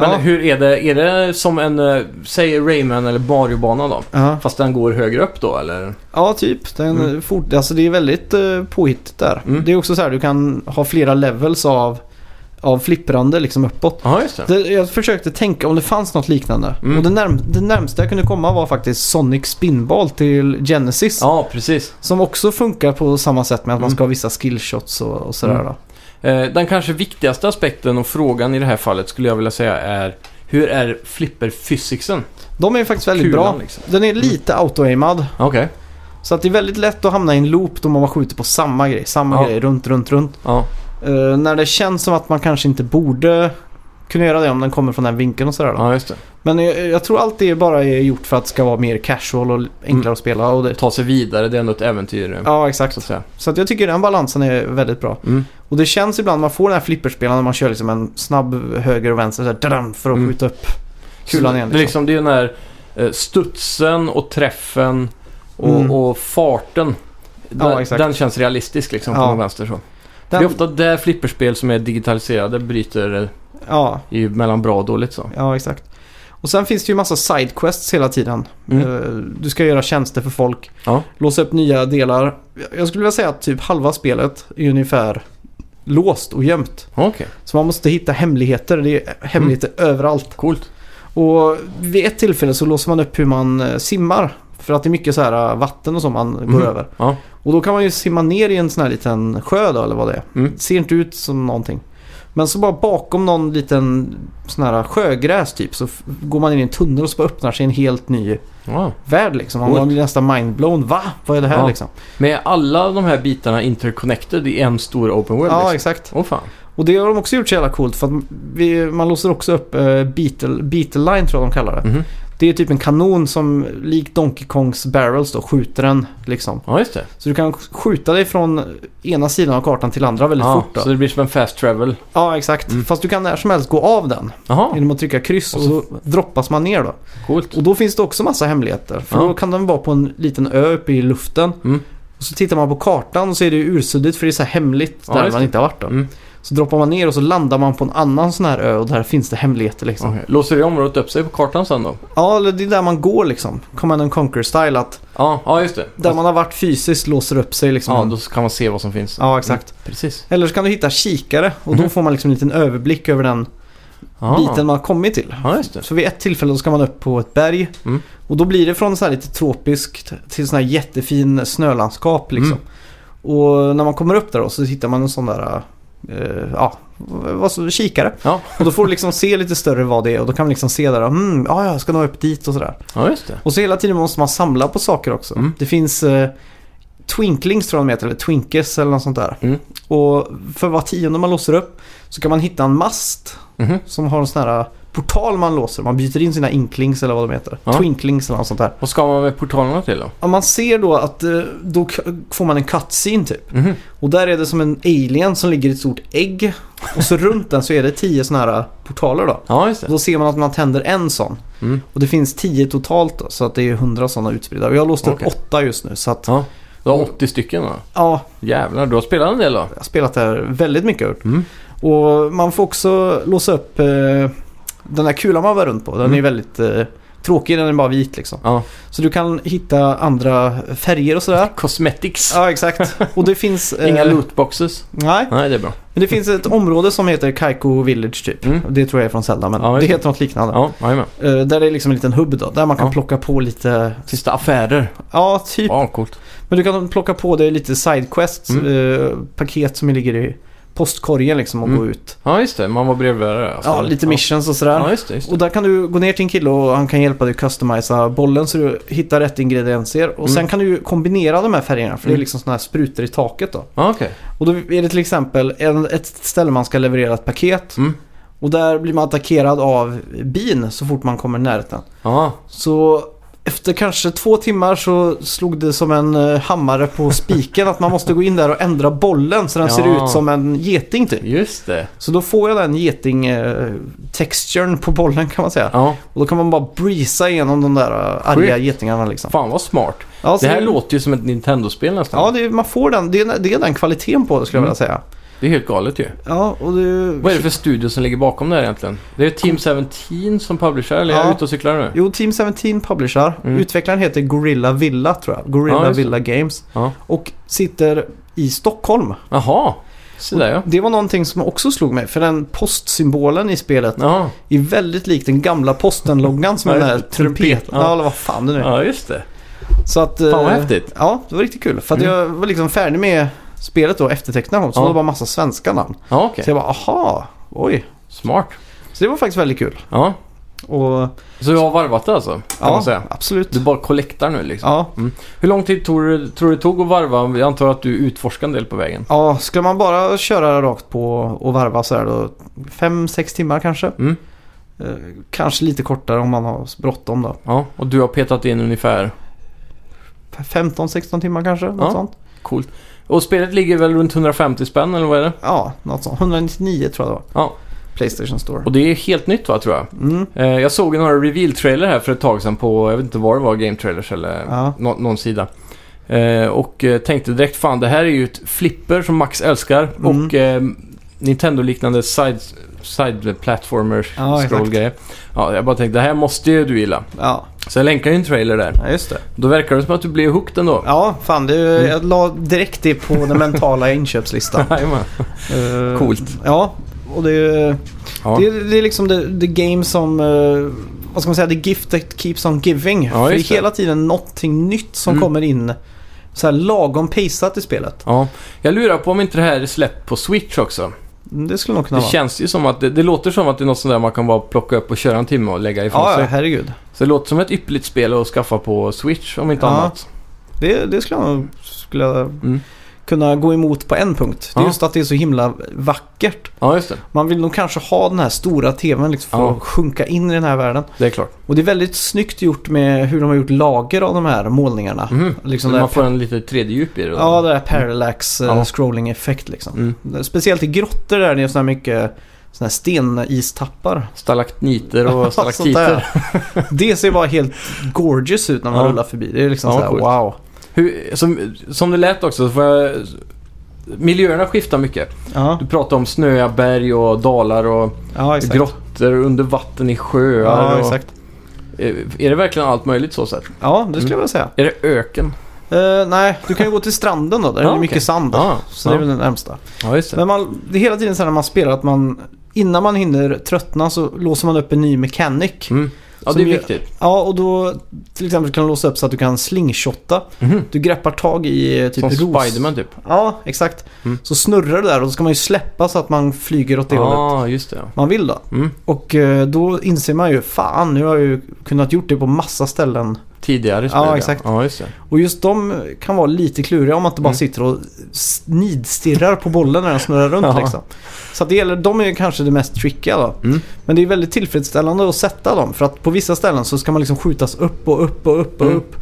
Men Ja. hur är det? Är det som en, eh, säg Rayman eller Mario-bana då? Ja, Fast den går högre upp då eller? ja typ. Den Mm. fort, alltså det är väldigt uh, påhittigt där. Mm. Det är också så här, du kan ha flera levels av, av flipprande liksom uppåt. Ja, just det. Det, jag försökte tänka om det fanns något liknande. Mm. Och det, närm, det närmsta jag kunde komma var faktiskt Sonic Spinball till Genesis. Ja, precis. Som också funkar på samma sätt med att man Mm. ska ha vissa skillshots och, och sådär Mm. då. Eh, Den kanske viktigaste aspekten och frågan i det här fallet skulle jag vilja säga är hur är flipper-fysiksen? De är faktiskt väldigt Kulan, bra. liksom. Den är lite auto-aimad. Okej. Så att det är väldigt lätt att hamna i en loop då man bara skjuter på samma grej. Samma Ja. grej runt, runt, runt. Ja. Eh, när det känns som att man kanske inte borde kunna göra det om den kommer från den vinkeln och sådär då. ja, just det. Men jag, jag tror allt det bara är gjort för att det ska vara mer casual och enklare Mm. att spela. Och det, Ta sig vidare, det är ändå ett äventyr. eh, ja, Så att exakt. säga. Så att jag tycker den balansen är väldigt bra. Mm. Och det känns ibland, man får den här flipperspelaren när man kör liksom en snabb höger och vänster så här, dadam, för att Mm. skjuta upp kulan igen. Så Det, är liksom, det är den här eh, studsen och träffen och, Mm. och farten. Den, Ja, exakt. den känns realistisk liksom på Ja. någon vänster så. Den- Det är ofta där flipperspel som är digitaliserade bryter eh, ja, i mellan bra och dåligt så. ja, exakt. Och sen finns det ju massa sidequests hela tiden. Mm. Eh, Du ska göra tjänster för folk. Ja. Låsa upp nya delar. Jag skulle vilja säga att typ halva spelet är ungefär låst och gömt. Okej, Så man måste hitta hemligheter. Det är hemligheter Mm. överallt. coolt. Och vid ett tillfälle så låser man upp hur man eh, simmar. För att det är mycket så här eh, vatten och så man går Mhm. över. Ja. Och då kan man ju simma ner i en sån här liten sjö då, eller vad det är. Mm. Ser inte ut som någonting. Men så bara bakom någon liten sån här sjögräs typ så f- går man in i en tunnel och så bara öppnar sig en helt ny Ja. värld liksom. Och Coolt. man blir nästan mindblown. Va? Vad är det här Ja. liksom? Men är alla de här bitarna interconnected i en stor open world? Ja, liksom? exakt. Åh fan. Och det har de också gjort så jävla coolt för att vi, man låser också upp eh, Beetle, Beetle Line tror jag de kallar det. Mhm. Det är typ en kanon som likt Donkey Kongs barrels då skjuter den liksom. Ja, just det. Så du kan skjuta dig från ena sidan av kartan till andra väldigt ja, fort då. Ah, Så det blir som en fast travel. Ja, exakt. Mm. Fast du kan när som helst gå av den Jaha, genom att trycka kryss och Och så- så droppas man ner då. coolt. Och då finns det också massa hemligheter. För Ja. då kan den vara på en liten ö uppe i luften. Mm. Och så tittar man på kartan och så är det ju ursuddigt för det är så här hemligt Ja, där just man det. inte har varit då. Mm. Så droppar man ner och så landar man på en annan sån här ö och där finns det hemligheter liksom. Okej. Låser det området upp sig på kartan sen då? Ja, eller det är där man går liksom. Command and conquer style att Ja, ja just det. där man har varit fysiskt låser upp sig liksom. Ja, då kan man se vad som finns. Ja, exakt. Precis. Eller så kan du hitta kikare och då Mhm. Ah. får man liksom en liten överblick över den Ja. biten man har kommit till. Ah. Ja, just det. Så vid ett tillfälle då ska man upp på ett berg. Mm. Och då blir det från så här lite tropiskt till sån här jättefin snölandskap liksom. Mm. Och när man kommer upp där då så hittar man en sån där, eh, ja, vad så, kikare. Ja. Och då får du liksom se lite större vad det är och då kan man liksom se där, mm, ja, jag ska nå upp dit och sådär. Ja, just det. Och så hela tiden måste man samla på saker också. Mm. Det finns eh, twinklings tror jag de heter, eller twinkers eller något sånt där. Mm. Och för var tionde man låser upp så kan man hitta en mast Mhm. som har en sån här eh, portal man låser. Man byter in sina inklings eller vad de heter. Ja. Twinklings eller något sånt där. Vad ska man med portalerna till då? Om man ser då att eh, då k- får man en cutscene typ. Mhm. Och där är det som en alien som ligger i ett stort ägg. Och så runt den så är det tio såna här eh, portaler då. Ja, just det. Och då ser man att man tänder en sån. Mm. Och det finns tio totalt då, så att det är hundra sådana utspridda. Och jag har låst upp Okej. åtta just nu så att Ja. Du har 80 stycken då? ja, Jävlar, du har spelat en del då? jag har spelat det här väldigt mycket. gjort. Mm. Och man får också låsa upp eh, den här kulan man var runt på. Den Mm. är väldigt eh, tråkig, den är bara vit liksom. Ja. Så du kan hitta andra färger och sådär. Cosmetics. Ja, exakt. Och det finns... eh, Inga lootboxes. Nej, Nej, det är bra. men det finns ett område som heter Kaiko Village typ. Mm. Det tror jag är från Zelda, men Ja, just det det. heter något liknande. Ja, jajamän. Eh, där det är liksom en liten hubb då, där man kan Ja. plocka på lite... Sista affärer. Ja, typ. Ja, coolt. Men du kan plocka på dig lite sidequests, Mm. eh, paket som ligger i postkorgen liksom och Mm. gå ut. Ja, just det. Man var brevbärare. alltså. Ja, lite missions och sådär. Ja, just det. Just det. Och där kan du gå ner till en kille och han kan hjälpa dig att customisa bollen så du hittar rätt ingredienser. Och Mm. sen kan du ju kombinera de här färgerna för det är Mm. liksom sådana här sprutor i taket då. Ja, okej. Och då är det till exempel en, ett ställe man ska leverera ett paket. Mm. Och där blir man attackerad av bin så fort man kommer i närheten. Ja, Så efter kanske två timmar så slog det som en eh, hammare på spiken att man måste gå in där och ändra bollen så den ser Ja. ut som en geting typ. just det. Så då får jag den geting-texturen på bollen kan man säga. Ja, Och då kan man bara breeza igenom de där eh, arga Sjukt. getingarna liksom. fan vad smart. Ja, så Det här låter ju som ett Nintendo-spel nästan. Ja, det, är- man får den, det, är, det är den kvaliteten på det skulle jag vilja säga. Det är helt galet ju. Ja, och du... Mm. Vad är det för studio som ligger bakom det här egentligen? Det är Team 17 som publicerar, eller är Ja. jag ute och cyklar nu? Jo, Team 17 publicerar. Mm. Utvecklaren heter Gorilla Villa tror jag. Gorilla Ja, just det. Villa Games. Ja. Och sitter i Stockholm. Jaha, så där ja. Det var någonting som också slog mig. För den postsymbolen i spelet Ja, är väldigt lik den gamla postenloggan som är Ja, den där just det. Trumpet, trumpeten. ja. Ja, eller vad fan det nu är. ja just det. Så att, Fan vad eh, häftigt. Ja, det var riktigt kul. För att Mm. jag var liksom färdig med spelet då, eftertecknade dem. Så Ja. var det bara massa svenska namn. Ja, okej. Så jag bara, aha, oj. Smart. Så det var faktiskt väldigt kul. Ja. Och Så du har varvat det alltså, kan man ja, säga. absolut. Du bara kollektar nu liksom. Ja. Hur lång tid tror du, tror du det tog att varva? Jag antar att du utforskade en del på vägen. ja, skulle man bara köra rakt på och varva så här då, fem, sex timmar kanske. Mm. Eh, kanske lite kortare om man har bråttom då. Ja, och du har petat in ungefär. 15-16 timmar kanske, något Ja. sånt. Coolt. Och spelet ligger väl runt 150 spänn eller vad är det? Ja, något sånt. 199 tror jag det var. Ja. Playstation Store. Och det är helt nytt va, tror jag. Mm. Eh, jag såg några reveal-trailer här för ett tag sedan på, jag vet inte var det var, Game Trailers eller Ja. nå- någon sida. Eh, och eh, tänkte direkt, fan det här är ju ett flipper som Max älskar Mm. och eh, Nintendo-liknande side, side platformers Ja, exakt. scroll grejer. Ja, jag bara tänkte, det här måste ju du gilla. Ja, Så jag länkar ju en trailer där. ja, just det. Då verkar det som att du blev hooked ändå. Ja, fan. Det, Mm. Jag la direkt det på den mentala inköpslistan. Jajamän. Eh, Coolt. Ja, och det är, Ja. det, är- det är liksom the, the game som... eh, vad ska man säga? The gift that keeps on giving. För det är just det. hela tiden någonting nytt som Mm. kommer in. Så här lagom paceat i spelet. Ja, jag lurar på om inte det här är släppt på Switch också. Mm, Det skulle nog kunna Det vara. känns ju som att det, det låter som att det är något sånt där man kan bara plocka upp och köra en timme och lägga ifrån Ja, ja, sig. herregud. Så det låter som ett ypperligt spel att skaffa på Switch om inte Ja. annat. Det, det skulle jag nog skulle jag Mm. kunna gå emot på en punkt. Det är Ja. just att det är så himla vackert. Ja, just det. Man vill nog kanske ha den här stora tvn liksom för Ja. att sjunka in i den här världen. Det är klart. Och det är väldigt snyggt gjort med hur de har gjort lager av de här målningarna. Mhm. Liksom Så det man här får en lite 3D-djup i det. då. Ja, det där parallax eh, Ja. scrolling-effekt liksom. Mm. Speciellt i grottor där det är så här mycket såna här stenistappar. Stalagmiter Sånt och stalaktiter. där. Det ser bara helt gorgeous ut när man Ja. rullar förbi. Det är liksom Ja, så här, coolt. wow. Hur, som, som det lät också, så får jag... Miljöerna skiftar mycket. Ja, Du pratar om snöiga berg och dalar och ja exakt. grottor under vatten i sjöar. ja, och, exakt. Eh, Är det verkligen allt möjligt så sett? Ja, det skulle jag vilja säga. Är det öken? Eh, nej, du kan ju gå till stranden då. Där Ja, är det mycket okej. sand. Ah, Ja, Typ. Så det är väl den närmsta. ja just det. Men man, det är hela tiden så här när man spelar att man innan man hinner tröttna så låser man upp en ny mechanic. Mm. Ja, Som det är ju- viktigt. Ja, och då till exempel kan du låsa upp så att du kan slingshotta. Mhm. Du greppar tag i eh, typ Som ros. Spiderman typ. Ja, exakt. Mm. Så snurrar det där och då ska man ju släppa så att man flyger åt det Ja, hållet ah, just det. ja. man vill då. Mm. Och eh, då inser man ju, fan nu har jag ju kunnat gjort det på massa ställen. Tidigare i Ja, spelet, exakt. Ja, just det. Och just de kan vara lite kluriga om man inte bara Mm. sitter och nidstirrar på bollen när den snurrar runt Ja. liksom. Så att det gäller, de är ju kanske det mest trickiga då. Mm. Men det är väldigt tillfredsställande att sätta dem för att på vissa ställen så ska man liksom skjutas upp och upp och upp och Mm. upp.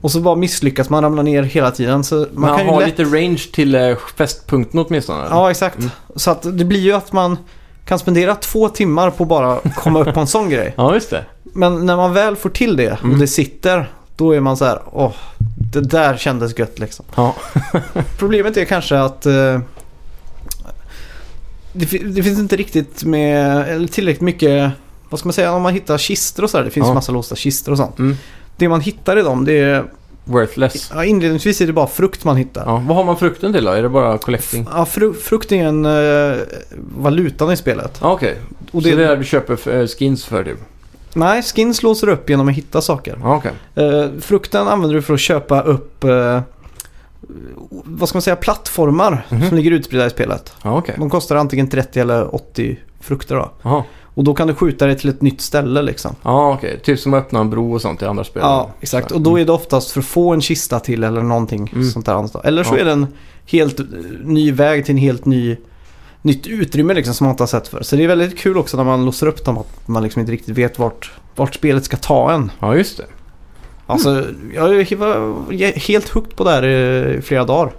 Och så bara misslyckas man, ramlar ner hela tiden. Så man Man, kan ju har lätt... lite Mm. range till eh, fästpunkten åtminstone. eller? Ja, exakt. Så att det blir ju att man kan spendera två timmar på bara komma upp på en sån grej. ja, just det. Men när man väl får till det och Mm. det sitter, då är man så här, åh, det där kändes gött liksom. Ja. Problemet är kanske att eh, det, fi- det finns inte riktigt med, eller tillräckligt mycket, vad ska man säga, om man hittar kistor och sådär. Det finns Ja. massa låsta kistor och sånt. Mm. Det man hittar i dem, det är, Worthless. ja, inledningsvis är det bara frukt man hittar. Ja. Vad har man frukten till då? Är det bara collecting? Ja, fru, frukt är en eh, valutan i spelet. Ja, okej. Och Så det är där du köper f- eh, skins för typ? Nej, skins låser upp genom att hitta saker. Ja, okej. Eh, frukten använder du för att köpa upp eh, vad ska man säga, plattformar Mhm. som ligger utspridda i spelet. Ja, okej. De kostar antingen 30 eller 80 frukter då. Jaha. Och då kan du skjuta dig till ett nytt ställe liksom. Ja, okej. Typ som att öppna en bro och sånt i andra spel. Ja, exakt. Och då är det oftast för att få en kista till eller någonting Mm. sånt där annat. då. Eller så Ja. är det en helt eh, ny väg till en helt ny nytt utrymme liksom som man inte har sett för. Så det är väldigt kul också när man låser upp dem att man liksom inte riktigt vet vart, vart spelet ska ta en. Ja, just det. Alltså, jag var helt hooked på det här eh, i flera dagar.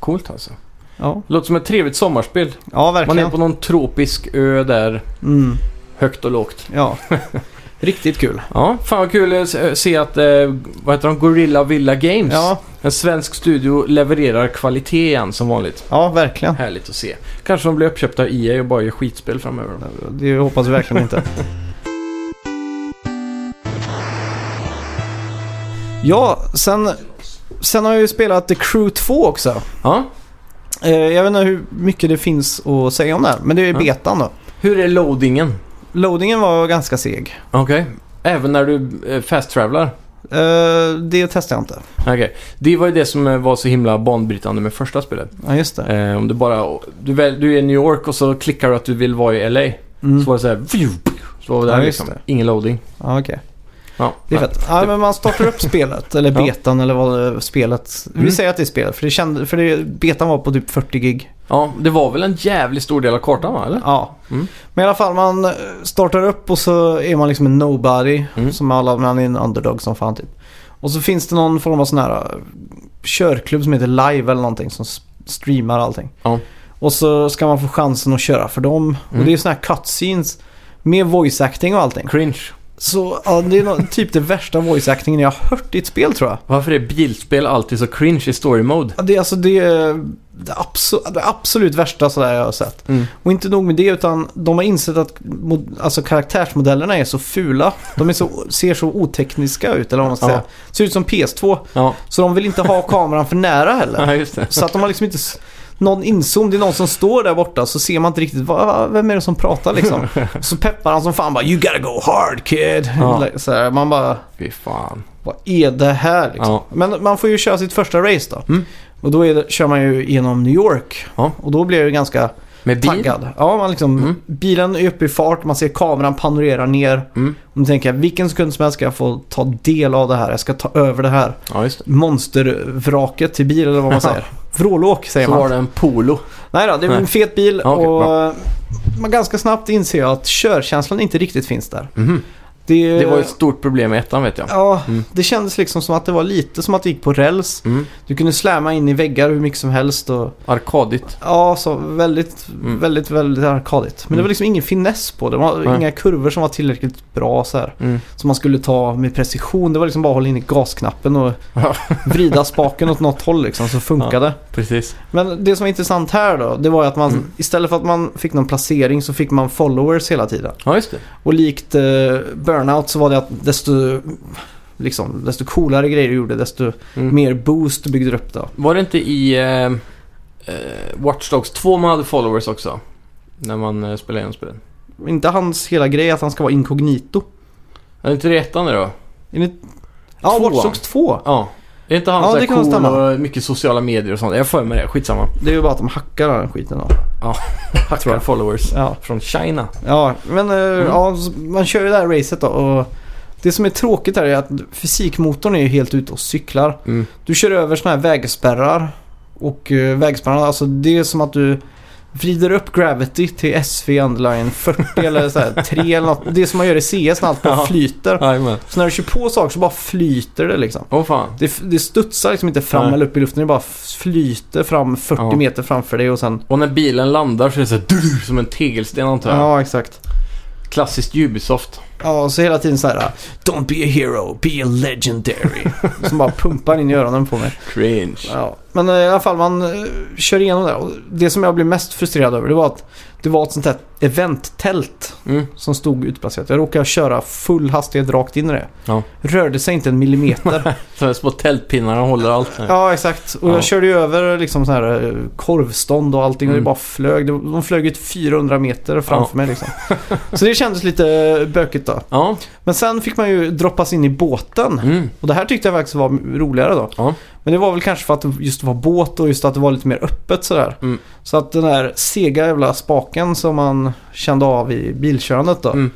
Coolt alltså. Ja, Låter som ett trevligt sommarspel. ja Man verkligen. är på någon tropisk ö där, Mm, högt och lågt. ja. Riktigt kul. Ja, fan vad kul att se- se att, eh, vad heter de, Gorilla Villa Games. Ja, En svensk studio levererar kvalitet igen som vanligt. ja verkligen. Härligt att se. Kanske de blir uppköpta av EA och bara gör skitspel framöver. Det hoppas vi verkligen inte. Ja, sen, sen har jag ju spelat The Crew 2 också. Ja, Eh, Jag vet inte hur mycket det finns att säga om det här, men det är Ja. betan då. hur är loadingen? Loadingen var ganska seg. Okej. Även när du eh, fast-travelar? Eh, Det testade jag inte. Okej. Det var ju det som eh, var så himla banbrytande med första spelet. Ja, just det. Eh, om du bara... Du, väl, du är i New York och så klickar du att du vill vara i LA. Mm. Så var det så här... vju, Så var det Ja, där just liksom. det. Ingen loading. Ja, okej. Ja, Det är nej. fett. Ja, Det- men man startar upp spelet, eller Ja. betan eller vad det- spelet. Vi Mm. säger att det är spelet, för, det kände, för det, betan var på typ 40 gig. Ja, det var väl en jävligt stor del av kartan va? Eller? Ja. Mm. Men i alla fall, man eh, startar upp och så är man liksom en nobody. Mm. Som alla, man är en underdog som fan typ. Och så finns det någon form av sån här eh, körklubb som heter Live eller någonting som s- streamar allting. Ja. Och så ska man få chansen att köra för dem. Och Mm. det är såna här cutscenes med voice acting och allting. Cringe. Så ja, det är nå- typ det värsta voice actingen jag har hört i ett spel tror jag. Varför är bilspel alltid så cringe i story mode? Ja, Det är alltså det, är det, abso- det absolut värsta sådär jag har sett. Mm. Och inte nog med det utan de har insett att mod- alltså, karaktärsmodellerna är så fula. De är så, ser så otekniska ut eller vad man ska Ja. säga. Ser ut som PS2. Ja, Så de vill inte ha kameran för nära heller. ja just det. Så att de har liksom inte s- någon inzoom. Det är någon som står där borta så ser man inte riktigt va, va, vem är det som pratar liksom. Så peppar han som fan bara You gotta go hard kid. Ja. Så här, man bara Fy fan. vad är det här liksom? Ja. Men man får ju köra sitt första race då. Mm. Och då är det, kör man ju genom New York. Ja. Och då blir jag ju ganska Med bil? taggad. Ja, man liksom, Mm. Bilen är uppe i fart, man ser kameran panorera ner. Mm. Och då tänker jag, vilken sekund som helst ska jag få ta del av det här. Jag ska ta över det här Ja, just det. monstervraket till bil eller vad man säger. Vrålåk säger Så man. var det en Polo. Nej då, det är en Nej. fet bil Ja, okej, och bra. man ganska snabbt inser jag att körkänslan inte riktigt finns där. Mhm. Det, Det var ju ett stort problem i ettan vet jag. Ja, Mm. det kändes liksom som att det var lite som att det gick på räls. Mm. Du kunde släma in i väggar hur mycket som helst och Arkadigt. ja, så väldigt, Mm. väldigt, väldigt arkadigt. Men det var Mm. liksom ingen finess på det. Det var Nej. inga kurvor som var tillräckligt bra så här. Mm. Som man skulle ta med precision. Det var liksom bara att hålla in i gasknappen och Ja. vrida spaken åt något håll liksom så funkade. Precis. Men det som var intressant här då, det var ju att man Mm. istället för att man fick någon placering så fick man followers hela tiden. Ja, just det. Och likt eh, Burnout så var det att desto, liksom, desto coolare grejer du gjorde desto Mm. mer boost byggde du upp då. Var det inte i eh, eh, Watch Dogs 2 man hade followers också? När man eh, spelade igenom spelet. Inte hans hela grej att han ska vara inkognito. Är det inte det i ettan nu då? Är det... Ja, Tvåan. Watch Dogs 2. Ja. Är inte han Ja, så det här kan nog cool stämma. och mycket sociala medier och sånt? Jag får med det. Skitsamma. Det är ju bara att de hackar den här skiten då. Ja. hackar. Hackar followers. Ja, Från China. ja men eh, ja, så man kör ju det här racet då och det som är tråkigt här är att fysikmotorn är ju helt ute och cyklar. Mm. Du kör över sådana här vägspärrar och eh, vägspärrarna, alltså det är som att du vrider upp gravity till SV underline 40 eller så här 3 eller något. Det är som man gör i CS när allt bara Ja. flyter. Jajamän. Så när du kör på saker så bara flyter det liksom. Åh fan. Det, det studsar liksom inte fram Nej. eller upp i luften. Det bara flyter fram 40 Ja. meter framför dig och sen... Och när bilen landar så är det så här, "Durr", som en tegelsten antar jag. Ja, exakt. Klassiskt Ubisoft. Ja, och så hela tiden så här... Don't be a hero, be a legendary. som bara pumpar in i öronen på mig. Cringe. Ja. Men eh, i alla fall, man eh, kör igenom det. Och det som jag blev mest frustrerad över, det var att det var ett sånt här eventtält Mm. som stod utplacerat. Jag råkade köra full hastighet rakt in i det. Ja. Rörde sig inte en millimeter. Så här små tältpinnarna håller allt. här. Ja, exakt. Och Ja. jag körde ju över liksom så här eh, korvstånd och allting och det Mm. bara flög. Det- De flög ut 400 meter framför Ja. mig liksom. Så det kändes lite eh, bökigt då. Ja. Men sen fick man ju droppas in i båten. Mm. Och det här tyckte jag faktiskt var roligare då. Ja. Men det var väl kanske för att det just var båt och just att det var lite mer öppet sådär. Mm. Så att den här sega jävla spaken som man kände av i bilkörandet då. Mm.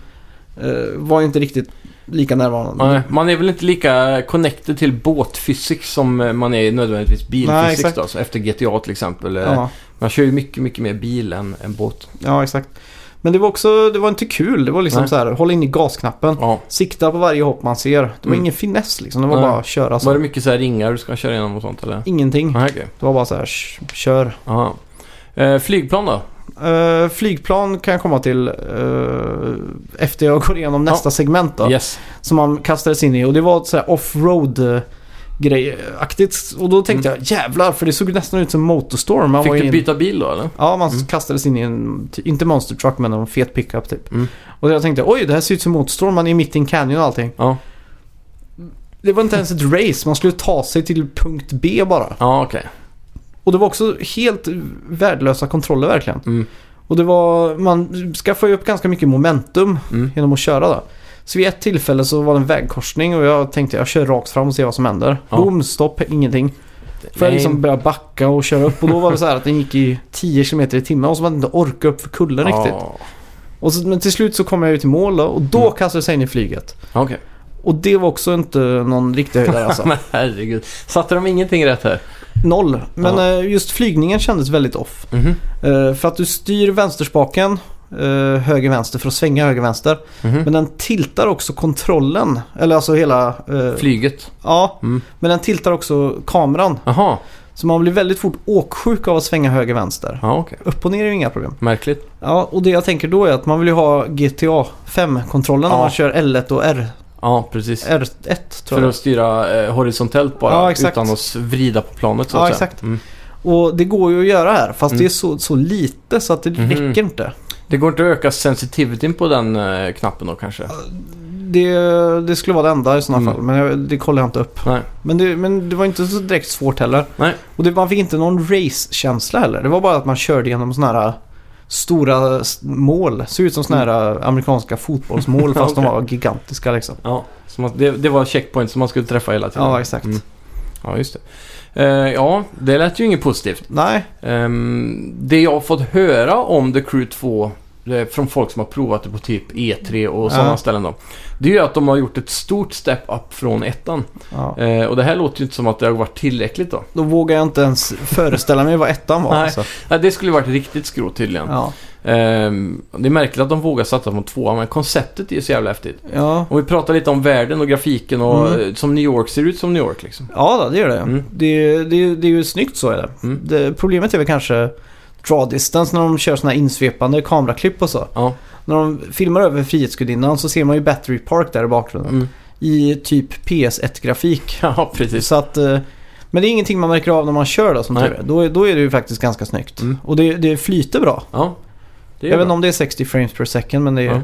eh, Var ju inte riktigt lika närvarande. Nej, Man är väl inte lika connected till båtfysik som eh, man är nödvändigtvis Nej, bilfysik exakt. då. Så efter GTA till exempel. eh, Ja. Man kör ju mycket, mycket mer bil än, än båt. Ja, exakt. Men det var också, det var inte kul. Det var liksom Nej. så här, håll in i gasknappen. Ja. Sikta på varje hopp man ser. Det var Mm. ingen finess liksom. Det var Nej. bara att köra så. Var det mycket så här ringar du ska köra igenom och sånt eller? Ingenting. Nej, okej. Det var bara så här, "Sh- kör. Aha. Eh, flygplan då? Eh, flygplan kan jag komma till eh, efter jag går igenom Ja. nästa segment då. Yes. Som man kastades in i och det var ett så här offroad eh, grejaktigt. Och då tänkte jag jävlar för det såg nästan ut som Motorstorm. Man Mm. Fick var du in... byta bil då eller? Ja, man Mm. kastades in i en, typ, inte monster truck men en fet pickup typ. Mm. Och jag tänkte oj det här ser ut som Motorstorm, man är mitt i en canyon och allting. Ja, Det var inte ens ett race, man skulle ta sig till punkt B bara. ja okej. Och det var också helt värdelösa kontroller verkligen. Mm. Och det var, man skaffade ju upp ganska mycket momentum Mm. genom att köra då. Så vid ett tillfälle så var det en vägkorsning och jag tänkte jag kör rakt fram och ser vad som händer. Ja. Boom, stopp, ingenting. För jag Nej. liksom började backa och köra upp och då var det så här att den gick i 10 km i timmen och så var det inte orka upp för kullen riktigt. Ja, Och så, men till slut så kom jag ju till mål då, och då Mm. kastade jag sig in i flyget. Okej. Och det var också inte någon riktig höjdare alltså. Men herregud. Satte de ingenting rätt här? Noll. Men Ja. eh, just flygningen kändes väldigt off. Mhm. Eh, För att du styr vänsterspaken eh, höger-vänster för att svänga höger-vänster. Mhm. Men den tiltar också kontrollen. Eller alltså hela... eh, Flyget. ja, Mm. men den tiltar också kameran. Jaha, Så man blir väldigt fort åksjuk av att svänga höger-vänster. ja, okej. Upp och ner är ju inga problem. Märkligt. Ja, och det jag tänker då är att man vill ju ha GTA 5-kontrollen när Ja. man kör L1 och R, Ja, precis. R1 tror För jag. att styra eh, horisontellt bara Ja, exakt. utan att s- vrida på planet så Ja, att säga. exakt. Mm. Och det går ju att göra här, fast Mm. det är så, så lite så att det Mhm. räcker inte. Det går inte att öka sensitivityn på den eh, knappen då kanske? Det, det skulle vara det enda i sådana Mm. fall, men jag, det kollar jag inte upp. Nej. Men det, men det var inte så direkt svårt heller. Nej. Och det, man fick inte någon race-känsla heller. Det var bara att man körde genom sådana här stora s- mål. Såg ut som sådana här amerikanska fotbollsmål fast de Mm. Okej. var gigantiska liksom. Ja, som att det, det var checkpoints som man skulle träffa hela tiden. Ja, exakt. Mm. Ja, just det. Eh, ja, det lät ju inget positivt. Nej, Ehm, det jag har fått höra om The Crew 2 det är från folk som har provat det på typ E3 och sådana Ja. ställen då. Det är ju att de har gjort ett stort step up från ettan. ja. Eh, och det här låter ju inte som att det har varit tillräckligt då. då vågar jag inte ens föreställa mig vad ettan var. Nej. Alltså. Nej, det skulle ju varit riktigt skrot tydligen. Ja. Ehm, det är märkligt att de vågar satsa på tvåan, men konceptet är ju så jävla häftigt. Ja. Om vi pratar lite om världen och grafiken och Mm. eh, som New York ser ut som New York liksom. ja, då, det gör det. Mm. Det, det. Det är ju snyggt så är det. Mm. det problemet är väl kanske draw distance när de kör sådana här insvepande kameraklipp och så. Ja. När de filmar över Frihetsgudinnan så ser man ju Battery Park där i bakgrunden. Mm. i typ PS1-grafik. Ja, precis. Så att, eh, men det är ingenting man märker av när man kör då som Nej. tur är. Då, är- då är det ju faktiskt ganska snyggt. Mm. Och det, det flyter bra. Ja. Det är Jag vet bra. inte om det är 60 frames per second men det är, Ja.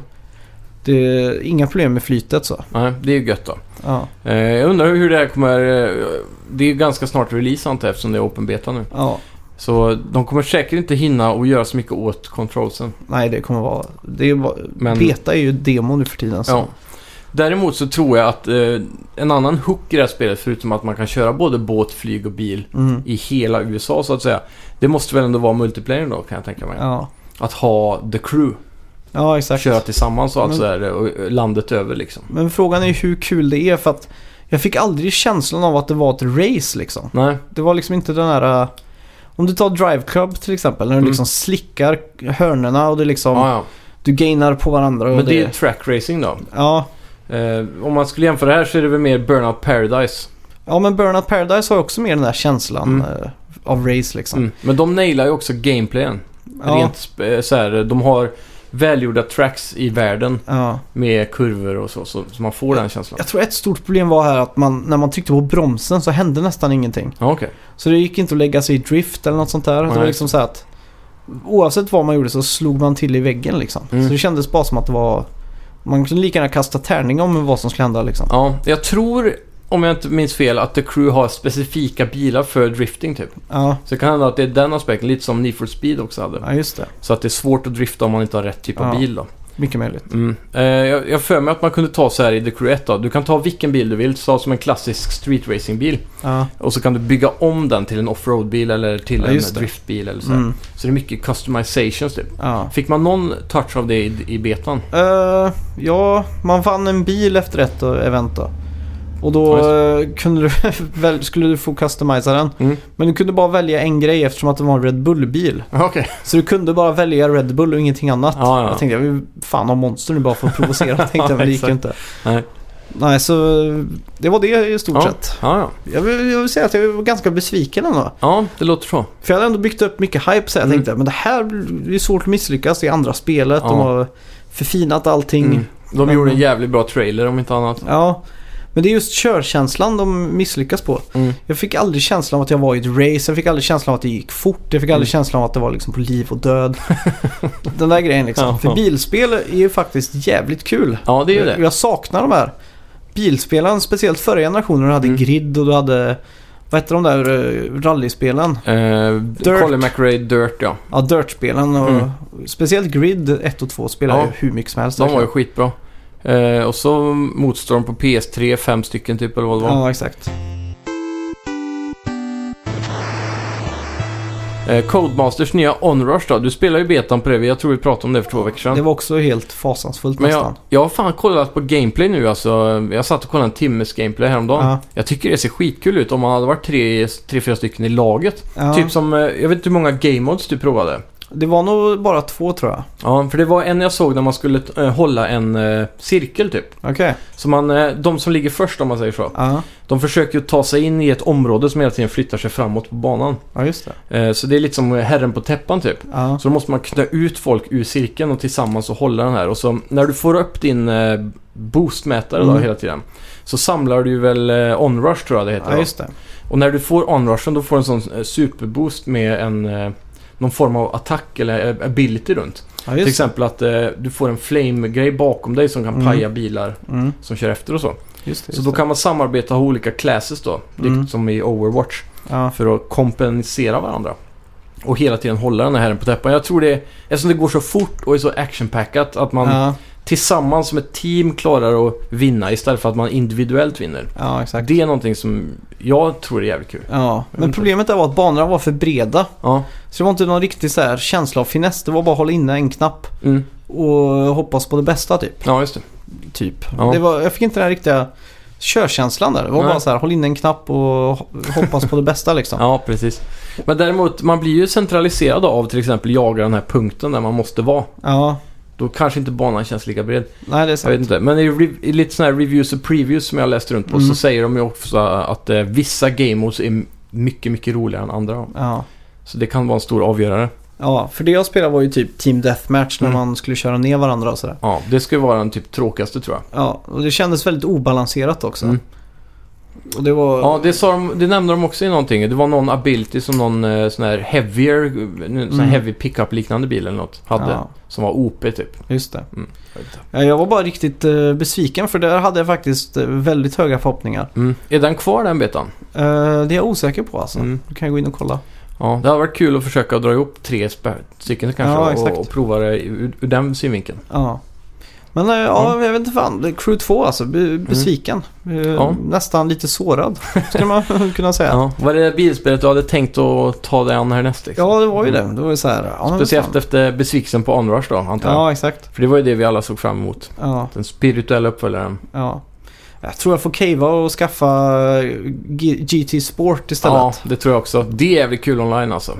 det är inga problem med flytet så. Nej, det är ju gött då. Ja, Eh, Jag undrar hur det här kommer... eh, Det är ju ganska snart release antar jag eftersom det är open beta nu. ja. Så de kommer säkert inte hinna och göra så mycket åt controlsen. Nej det kommer vara... Det är bara, Men- Beta är ju demo nu för tiden så. Ja. Däremot så tror jag att eh, en annan hook i det här spelet, förutom att man kan köra både båt, flyg och bil Mm. i hela USA så att säga. Det måste väl ändå vara multiplayer då kan jag tänka mig. Ja. Att ha the crew, ja, exakt. köra tillsammans och allt Men- sådär och eh, landet över liksom. Men frågan är ju hur kul det är för att jag fick aldrig känslan av att det var ett race liksom. Nej, Det var liksom inte den här... äh, Om du tar Drive Club till exempel, när du Mm. liksom slickar hörnorna och det liksom... ja, ja. Du gainar på varandra och Men det... det är track racing då. Ja. Eh, om man skulle jämföra det här så är det väl mer Burnout Paradise. ja, men Burnout Paradise har ju också mer den där känslan Mm. äh, av race liksom. Mm. Men de nailar ju också gameplayen. Ja. Rent sp- eh, så här, de har välgjorda tracks i världen Ja. med kurvor och så, så, så man får den känslan. Jag tror ett stort problem var här att man, när man tryckte på bromsen så hände nästan ingenting. Ja, okej. Så det gick inte att lägga sig i drift eller något sånt där. Det Nej. var liksom så här att oavsett vad man gjorde så slog man till i väggen liksom. Mm. Så det kändes bara som att det var... Man kunde lika gärna kasta tärning om vad som skulle hända liksom. Ja, jag tror, om jag inte minns fel, att The Crew har specifika bilar för drifting typ. Ja, Så det kan hända att det är den aspekten, lite som Need for Speed också hade. ja just det. Så att det är svårt att drifta om man inte har rätt typ av Ja. bil då. Mycket möjligt. Mm. Eh, jag jag har för mig att man kunde ta så här i The Crew 1 då. Du kan ta vilken bil du vill, ta som en klassisk street racing-bil. Ja. Och så kan du bygga om den till en offroad-bil eller till Ja, en just det. driftbil eller så. här. Mm. Så det är mycket customizations typ. Ja. Fick man någon touch av det i, i betan? Eh, ja, man vann en bil efter ett eh, event då. Och då eh, kunde du väl, skulle du få customisa den. Mm. Men du kunde bara välja en grej eftersom att det var en Red Bull-bil. Okej. Så du kunde bara välja Red Bull och ingenting annat. Ja, ja. Jag tänkte jag vill fan ha monster nu bara för att provocera. tänkte jag, men det gick ju Ja, inte. Nej. Nej, så det var det i stort Ja. sett. Ja, ja. Jag vill, jag vill säga att jag var ganska besviken ändå. ja, det låter så. För jag hade ändå byggt upp mycket hype så jag Mm. tänkte men det här blir- det är svårt att misslyckas i andra spelet. De Ja. har förfinat allting. Mm. De Men- gjorde en jävligt bra trailer om inte annat. Ja, men det är just körkänslan de misslyckas på. Mm. Jag fick aldrig känslan av att jag var i ett race. Jag fick aldrig känslan av att det gick fort. Jag fick aldrig Mm. känslan av att det var liksom på liv och död. Den där grejen liksom. Ja. För bilspel är ju faktiskt jävligt kul. Ja, det är ju det. Jag saknar de här bilspelen, speciellt förra generationen. Du hade Mm. grid och du hade, vad hette de där eh, rallyspelen? Eh, Dirt. Colin McRae Dirt, ja. Ja, Dirt-spelen och Mm. speciellt Grid 1 och 2 spelar Ja. ju hur mycket som helst. De var ju skitbra. Eh, och så motstånd på PS3, fem stycken typ eller vad det var. Ja, exakt. Eh, Codemasters nya Onrush då. Du spelar ju betan på det. Jag tror vi pratade om det för två veckor sedan. Det var också helt fasansfullt Men jag, nästan. jag har fan kollat på gameplay nu alltså. Jag satt och kollade en timmes gameplay häromdagen. Ja. Jag tycker det ser skitkul ut om man hade varit tre, tre fyra stycken i laget. Ja. Typ som, eh, jag vet inte hur många game modes du provade. Det var nog bara två tror jag. Ja, för det var en jag såg när man skulle eh, hålla en eh, cirkel typ. Okej. Så man, eh, de som ligger först om man säger så. Ja. De försöker ju ta sig in i ett område som hela tiden flyttar sig framåt på banan. ja, just det. Eh, Så det är lite som herren på täppan typ. Ja. Så då måste man knö ut folk ur cirkeln och tillsammans och hålla den här. Och så när du får upp din eh, boostmätare då Mm. hela tiden. Så samlar du ju väl eh, onrush tror jag det heter. Ja, va? just det. Och när du får onrushen då får du en sån eh, superboost med en eh, någon form av attack eller eh, ability runt. Ja, Till just det. exempel att eh, du får en flame-grej bakom dig som kan Mm. paja bilar Mm. som kör efter och så. Just det, Så just då det. kan man samarbeta och ha olika classes då. Mm. likt Som i Overwatch Ja. för att kompensera varandra. Och hela tiden hålla den här herren på täppan. Jag tror det, eftersom det går så fort och är så actionpackat, att man Ja. tillsammans som ett team klarar att vinna istället för att man individuellt vinner. ja, exakt. Det är någonting som jag tror är jävligt kul. Ja, vet men inte. problemet där var att banorna var för breda. Ja. Så det var inte någon riktig så här känsla av finess. Det var bara att hålla inne en knapp Mm. och hoppas på det bästa typ. Ja, just det. typ. Ja. Det var, jag fick inte den här riktiga körkänslan där. Det var Nej. bara så här, håll inne en knapp och ho- hoppas på det bästa liksom. Ja, precis. Men däremot, man blir ju centraliserad av till exempel jaga den här punkten där man måste vara. Ja, Då kanske inte banan känns lika bred. nej det är Jag vet sant. inte, men i, re- i lite sådana här reviews och previews som jag läst runt på Mm. så säger de ju också att eh, vissa game modes är mycket, mycket roligare än andra. Ja. Så det kan vara en stor avgörare. ja, för det jag spelade var ju typ Team Deathmatch när Mm. man skulle köra ner varandra och sådär. Ja, det skulle vara den typ tråkigaste tror jag. Ja, och det kändes väldigt obalanserat också. Mm. Och det var... Ja, det, sa de, det nämnde de också i någonting. Det var någon ability som någon eh, sån här heavier, eh, sån här Mm. heavy pickup liknande bil eller något hade. Ja, Som var OP typ. Mm, just det. Jag vet inte. Ja, Jag var bara riktigt eh, besviken för där hade jag faktiskt eh, väldigt höga förhoppningar. Mm. Är den kvar den betan? Eh, det är jag osäker på alltså. Mm. Då kan jag gå in och kolla. Ja, det hade varit kul att försöka dra ihop tre spä- stycken kanske Ja, och, exakt. och prova det ur, ur den synvinkeln. Ja. Men eh, ja, jag vet inte fan. Det- Crew 2 alltså. Be- Besviken. Eh, Ja. Nästan lite sårad. Skulle man kunna säga. Ja. Ja. Var det bilspelet du hade tänkt att ta dig an härnäst? Liksom? det var ju det. Det var ju så här. Ja, men Speciellt fan. efter besvikelsen på Onrush då, antar jag. Ja, exakt. För det var ju det vi alla såg fram emot. Ja, Den spirituella uppföljaren. ja. Jag tror jag får cavea och skaffa eh, G- GT Sport istället. Ja, Ja. det tror jag också. Det är jävligt kul online alltså.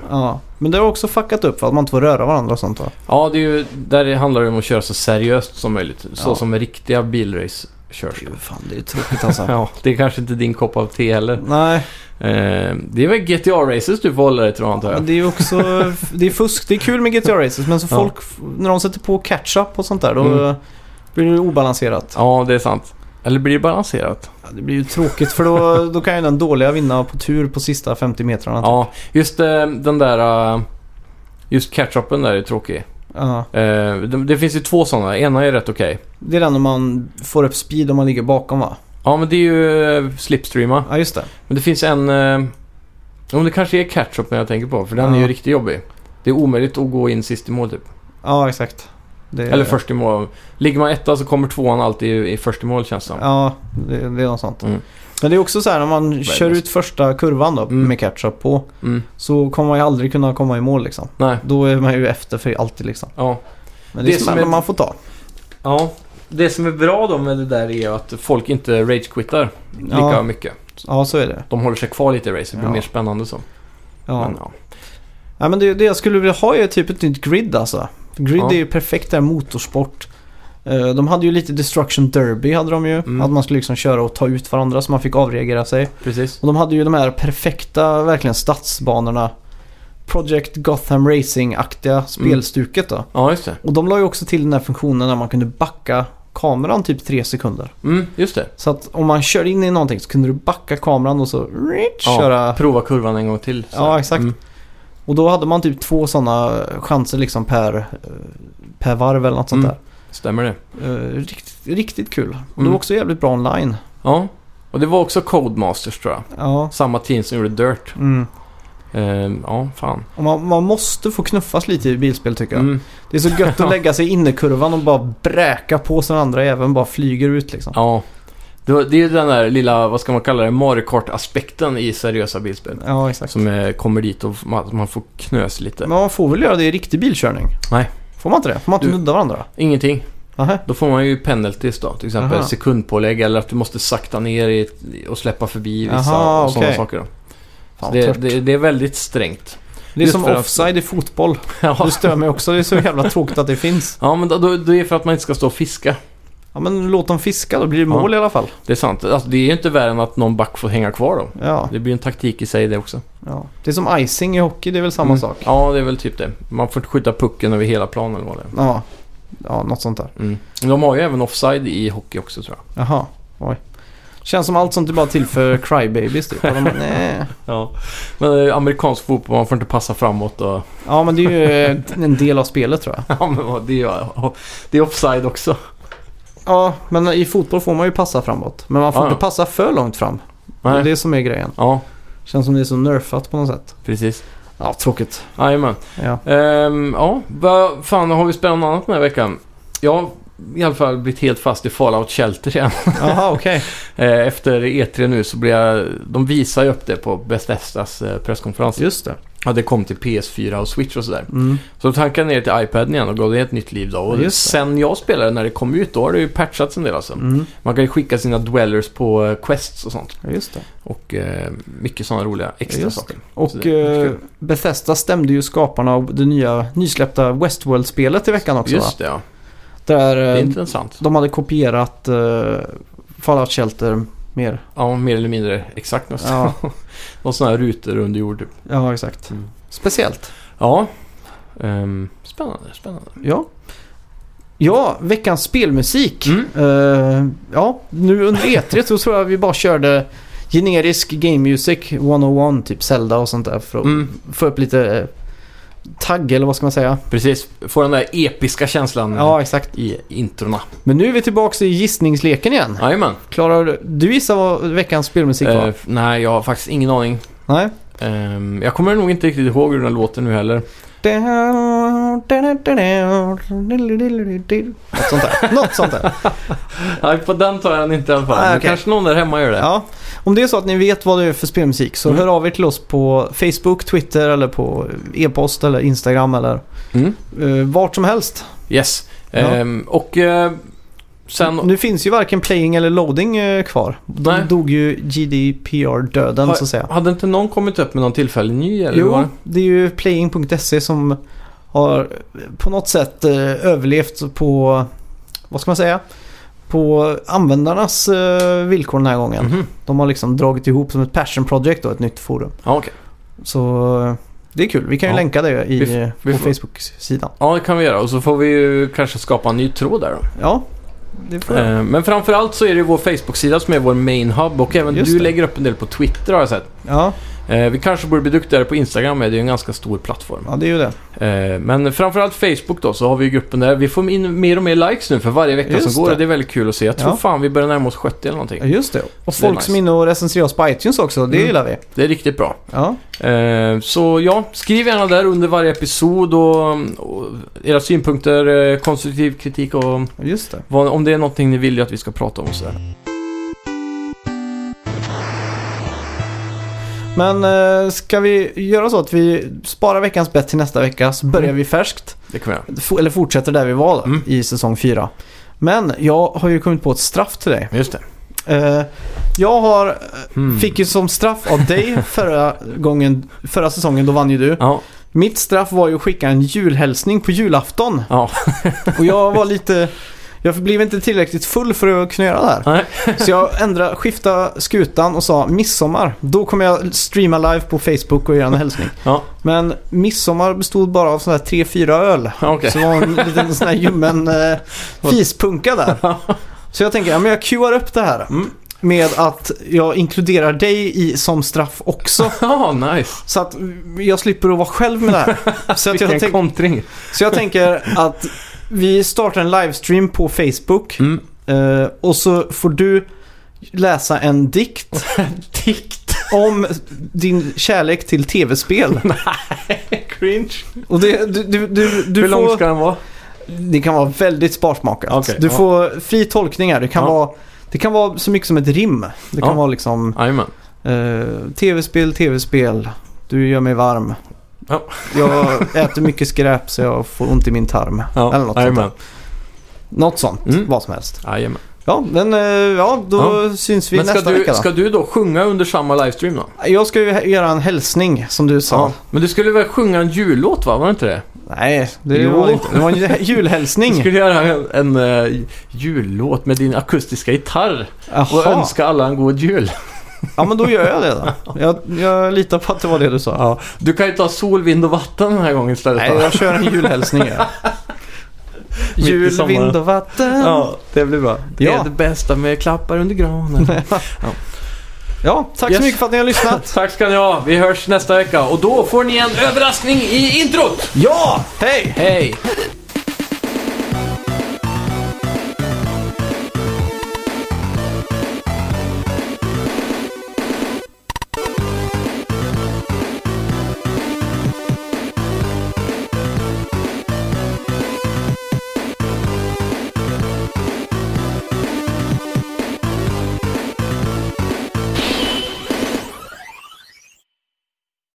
Men det har också fuckat upp för att man inte får röra varandra och sånt va? Ja, det är ju, där handlar det om att köra så seriöst som möjligt. Så Ja. som riktiga bilrace körs. Det är ju fan, det är tråkigt alltså. Ja, det är kanske inte din kopp av te heller. Nej, Eh, det är väl GTA-races du får hålla dig till då, antar men jag. det är ju också det är fusk. Det är kul med GTA Races men så Ja. folk, när de sätter på catch-up och sånt där då Mm. blir det obalanserat. Ja, det är sant. Eller blir det balanserat? Ja, det blir ju tråkigt för då, då kan ju den dåliga vinna på tur på sista 50 metrarna. Ja, just eh, den där... eh, Just catch-upen där är tråkig. Ja. Eh, det, det finns ju två sådana. Ena är rätt okej. Det är den när man får upp speed om man ligger bakom va? Ja, men det är ju eh, slipstreama. Ja just det. Men det finns en... eh, Om det kanske är catch-upen jag tänker på, för den är ju Ja. riktigt jobbig. Det är omöjligt att gå in sist i mål typ. Ja exakt. Det, Eller först i mål. Ligger man etta så kommer tvåan alltid i, i först i mål känns det som. Ja, det, det är något sånt. Mm. Men det är också så här när man Värdelöst. kör ut första kurvan då Mm. med catch-up på Mm. så kommer man ju aldrig kunna komma i mål liksom. Nej. Då är man ju efter för alltid liksom. Ja. Men det, Det är som smällen är- man får ta. ja. Det som är bra då med det där är ju att folk inte rage-quittar lika Ja. mycket. Ja, så är det. De håller sig kvar lite i racet. Det blir Ja. mer spännande så. Ja. Men, ja. Ja, men det, det jag skulle vilja ha är typ ett nytt grid alltså. Grid Ja. är ju perfekt där, motorsport. Eh, De hade ju lite Destruction Derby hade de ju. Mm. Att man skulle liksom köra och ta ut varandra så man fick avreagera sig. Precis. Och de hade ju de här perfekta, verkligen stadsbanorna. Project Gotham Mm. Racing-aktiga spelstuket då. Ja, just det. Och de la ju också till den här funktionen där man kunde backa kameran typ tre sekunder. Mm, just det. Så att om man kör in i någonting så kunde du backa kameran och så reach, Ja. köra. Prova kurvan en gång till. så. Ja, exakt. Mm. Och då hade man typ två sådana chanser liksom per, eh, per varv eller något sånt Mm. där. Stämmer det. Eh, riktigt, riktigt kul. Och det Mm. var också jävligt bra online. Ja. Och det var också Codemasters tror jag. Ja. Samma team som gjorde Dirt. Mm. Ehm, ja, fan. Och man, man måste få knuffas lite i bilspel tycker jag. Mm. Det är så gött Ja. att lägga sig i innerkurvan och bara bräka på så den andra även bara flyger ut liksom. Ja. Det var- det är ju den där lilla, vad ska man kalla det, Mario Kart-aspekten i seriösa bilspel. Ja, exakt. Som eh, kommer dit och man, man får knös lite. Men man får väl göra det i riktig bilkörning? Nej. Får man inte det? Får man inte Du- nudda varandra? Ingenting. Aha. Då får man ju penalties då. Till exempel Aha. sekundpålägg eller att du måste sakta ner i, ett- och släppa förbi vissa Aha, och sådana okej. saker. Då. Så Fan, det, tört. det, det är väldigt strängt. det är just som för att- offside i fotboll. ja. Det stör mig också. Det är så jävla tråkigt att det finns. ja, men då, då, det är för att man inte ska stå och fiska. Ja, men låt dem fiska. Då blir det Ja. mål i alla fall. Det är sant. Alltså, det är ju inte värre än att någon back får hänga kvar då. Ja, Det blir ju en taktik i sig det också. ja. Det är som icing i hockey. Det är väl samma Mm. sak? Ja, det är väl typ det. Man får inte skjuta pucken över hela planen eller vad det är. Ja. ja, något sånt där. Mm. De har ju även offside i hockey också tror jag. Jaha, oj. Känns som allt sånt är bara till för crybabies typ. Och De, nej. Ja. Men eh, amerikansk fotboll, man får inte passa framåt och... Ja, men det är ju eh, en del av spelet tror jag. Ja, men vad- det är, ju- det är offside också. Ja, men i fotboll får man ju passa framåt. Men man får Ja, ja. inte passa för långt fram. Det är Nej. det som är grejen. Ja, Känns som det är så nerfat på något sätt. precis. Ja, tråkigt. Jajamän. Ja. Ehm, ja, vad fan har vi spelat något annat den här veckan? Jag har i alla fall blivit helt fast i Fallout Shelter igen. Jaha, okej. Eh, Efter E3 nu så blir jag... De visar ju upp det på Bethesdas eh, presskonferens. Just det. Ja, det kom till PS4 och Switch och sådär. Mm. Så de tankade ner till iPaden igen och gav det ett nytt liv då. Ja, Och just det. sen jag spelade, när det kom ut, då har det ju patchats en del alltså. Mm. Man kan ju skicka sina dwellers på eh, quests och sånt. Ja, just det. Och eh, mycket sådana roliga extra Just det. saker. Så Och det är eh, kul. Bethesda stämde ju skaparna av det nya nysläppta Westworld-spelet i veckan också va? Just det, ja. Det Där är eh, intressant. de hade kopierat eh, Fallout Shelter mer. Ja, mer eller mindre exakt nästan. Någon sån här rutor under jord typ. Ja, exakt. Mm. Speciellt. Ja. Ehm, spännande, spännande. Ja. Ja, veckans spelmusik. Mm. Eh, ja, nu under E3 så tror jag vi bara körde generisk game music 101, typ Zelda och sånt där för att Mm. få upp lite eh, tagg eller vad ska man säga? Precis, får den där episka känslan eh, Ja, exakt. i introna. Men nu är vi tillbaka i gissningsleken igen. Jajamän. Klarar du, du gissar vad veckans spelmusik var? Eh, f- nej, jag har faktiskt ingen aning. Nej? Ehm, jag kommer nog inte riktigt ihåg hur den låter nu heller. Något sånt där. Något sånt där. Nej, på den tar jag den inte i alla fall. Nej, Men Ah, okej. Kanske någon där hemma gör det. Ja. Om det är så att ni vet vad det är för spelmusik så Mm. hör av er till oss på Facebook, Twitter eller på e-post eller Instagram eller Mm. eh, vart som helst. Yes. Ja. Ehm, och eh, sen... Nu finns ju varken playing eller loading eh, kvar. De Nej. dog ju GDPR-döden Har- så att säga. Hade inte någon kommit upp med någon tillfällig ny? Eller hur var Jo, det? det är ju playing.se som har på något sätt eh, överlevt på, vad ska man säga, på användarnas eh, villkor den här gången. Mhm. De har liksom dragit ihop som ett passion project och ett nytt forum. Ja, okej. Så eh, det är kul. Vi kan ju Ja. länka det i, eh, Vi vi på får- Facebook-sidan. Ja, det kan vi göra. Och så får vi ju kanske skapa en ny tråd där då. Ja, det får jag. Eh, Men framförallt så är det vår Facebook-sida som är vår main hub och även Just du det. lägger upp en del på Twitter har jag sett. Ja, Eh, Vi kanske borde bli duktigare på Instagram med, det är ju en ganska stor plattform. ja, det är ju det. Eh, Men framförallt Facebook då, så har vi ju gruppen där. Vi får in mer och mer likes nu för varje vecka Just som går det. och det är väldigt kul att se. Jag tror Ja. fan vi börjar närma oss 70 eller Ja, någonting. just det. Och Så det är folk som är inne och recenserar oss på iTunes också, det Mm. gillar vi. Det är riktigt bra. Ja, Eh, Så ja, skriv gärna där under varje episod och, och era synpunkter, eh, konstruktiv kritik och just det. vad, om det är någonting ni vill ju att vi ska prata om och sådär. Men eh, ska vi göra så att vi sparar veckans bett till nästa vecka så börjar Mm. vi färskt. Det kan vi göra. F- eller fortsätter där vi var då, Mm. i säsong 4. Men jag har ju kommit på ett straff till dig. Just det. Eh, jag har, eh, Mm. fick ju som straff av dig förra gången, förra säsongen, då vann ju du. Ja, Mitt straff var ju att skicka en julhälsning på julafton. ja. Och jag var lite... Jag blev inte tillräckligt full för att kunna göra det här. Nej. Så jag ändrade, skiftade skutan och sa midsommar. Då kommer jag streama live på Facebook och göra en hälsning. Ja. Men midsommar bestod bara av sådana här 3-4 öl. Ja, okej. Så det var en liten sån här ljummen eh, fispunka där. Så jag tänker, ja, men jag queuar upp det här. Mm. Med att jag inkluderar dig i som straff också. Ja, nice. Så att jag slipper att vara själv med det här. Så, att jag, Vilken tänk, kontring. så jag tänker att vi startar en livestream på Facebook. Mm. Eh, och så får du läsa en dikt Dikt. om din kärlek till tv-spel. Cringe. Och det, du, du, du, du Hur får... lång ska den vara? Det kan vara väldigt sparsmakat. Okej, du ja. får fri tolkningar. Det kan, Ja. vara, det kan vara så mycket som ett rim. Det kan Ja. vara liksom Jajamän. eh, tv-spel, tv-spel. Du gör mig varm. Ja. Jag äter mycket skräp så jag får ont i min tarm. Ja, Eller något sånt. där. jajamän. Något sånt. Mm. Vad som helst. Jajamän. Ja, men eh, ja, då syns vi Men ska nästa vecka du, då. ska du då sjunga under samma livestream då? Jag ska ju göra en hälsning som du sa. Men du skulle väl sjunga en jullåt va? Var det inte det? Nej, det Jo. var det inte. Det var en Du julhälsning. skulle göra en, en eh, jullåt med din akustiska gitarr och Jaha. önska alla en god jul. Ja, men då gör jag det då. Jag, jag litar på att det var det du sa. Du kan ju ta sol, vind och vatten den här gången istället. Nej, va? jag kör en julhälsning. ja. Mitt i Jul, sommaren. vind och vatten. Ja, det blir bra. Det ja. är det bästa med klappar under granen. ja, tack Yes. så mycket för att ni har lyssnat. Tack ska ni ha. Vi hörs nästa vecka och då får ni en överraskning i introt. ja, hej! Hej!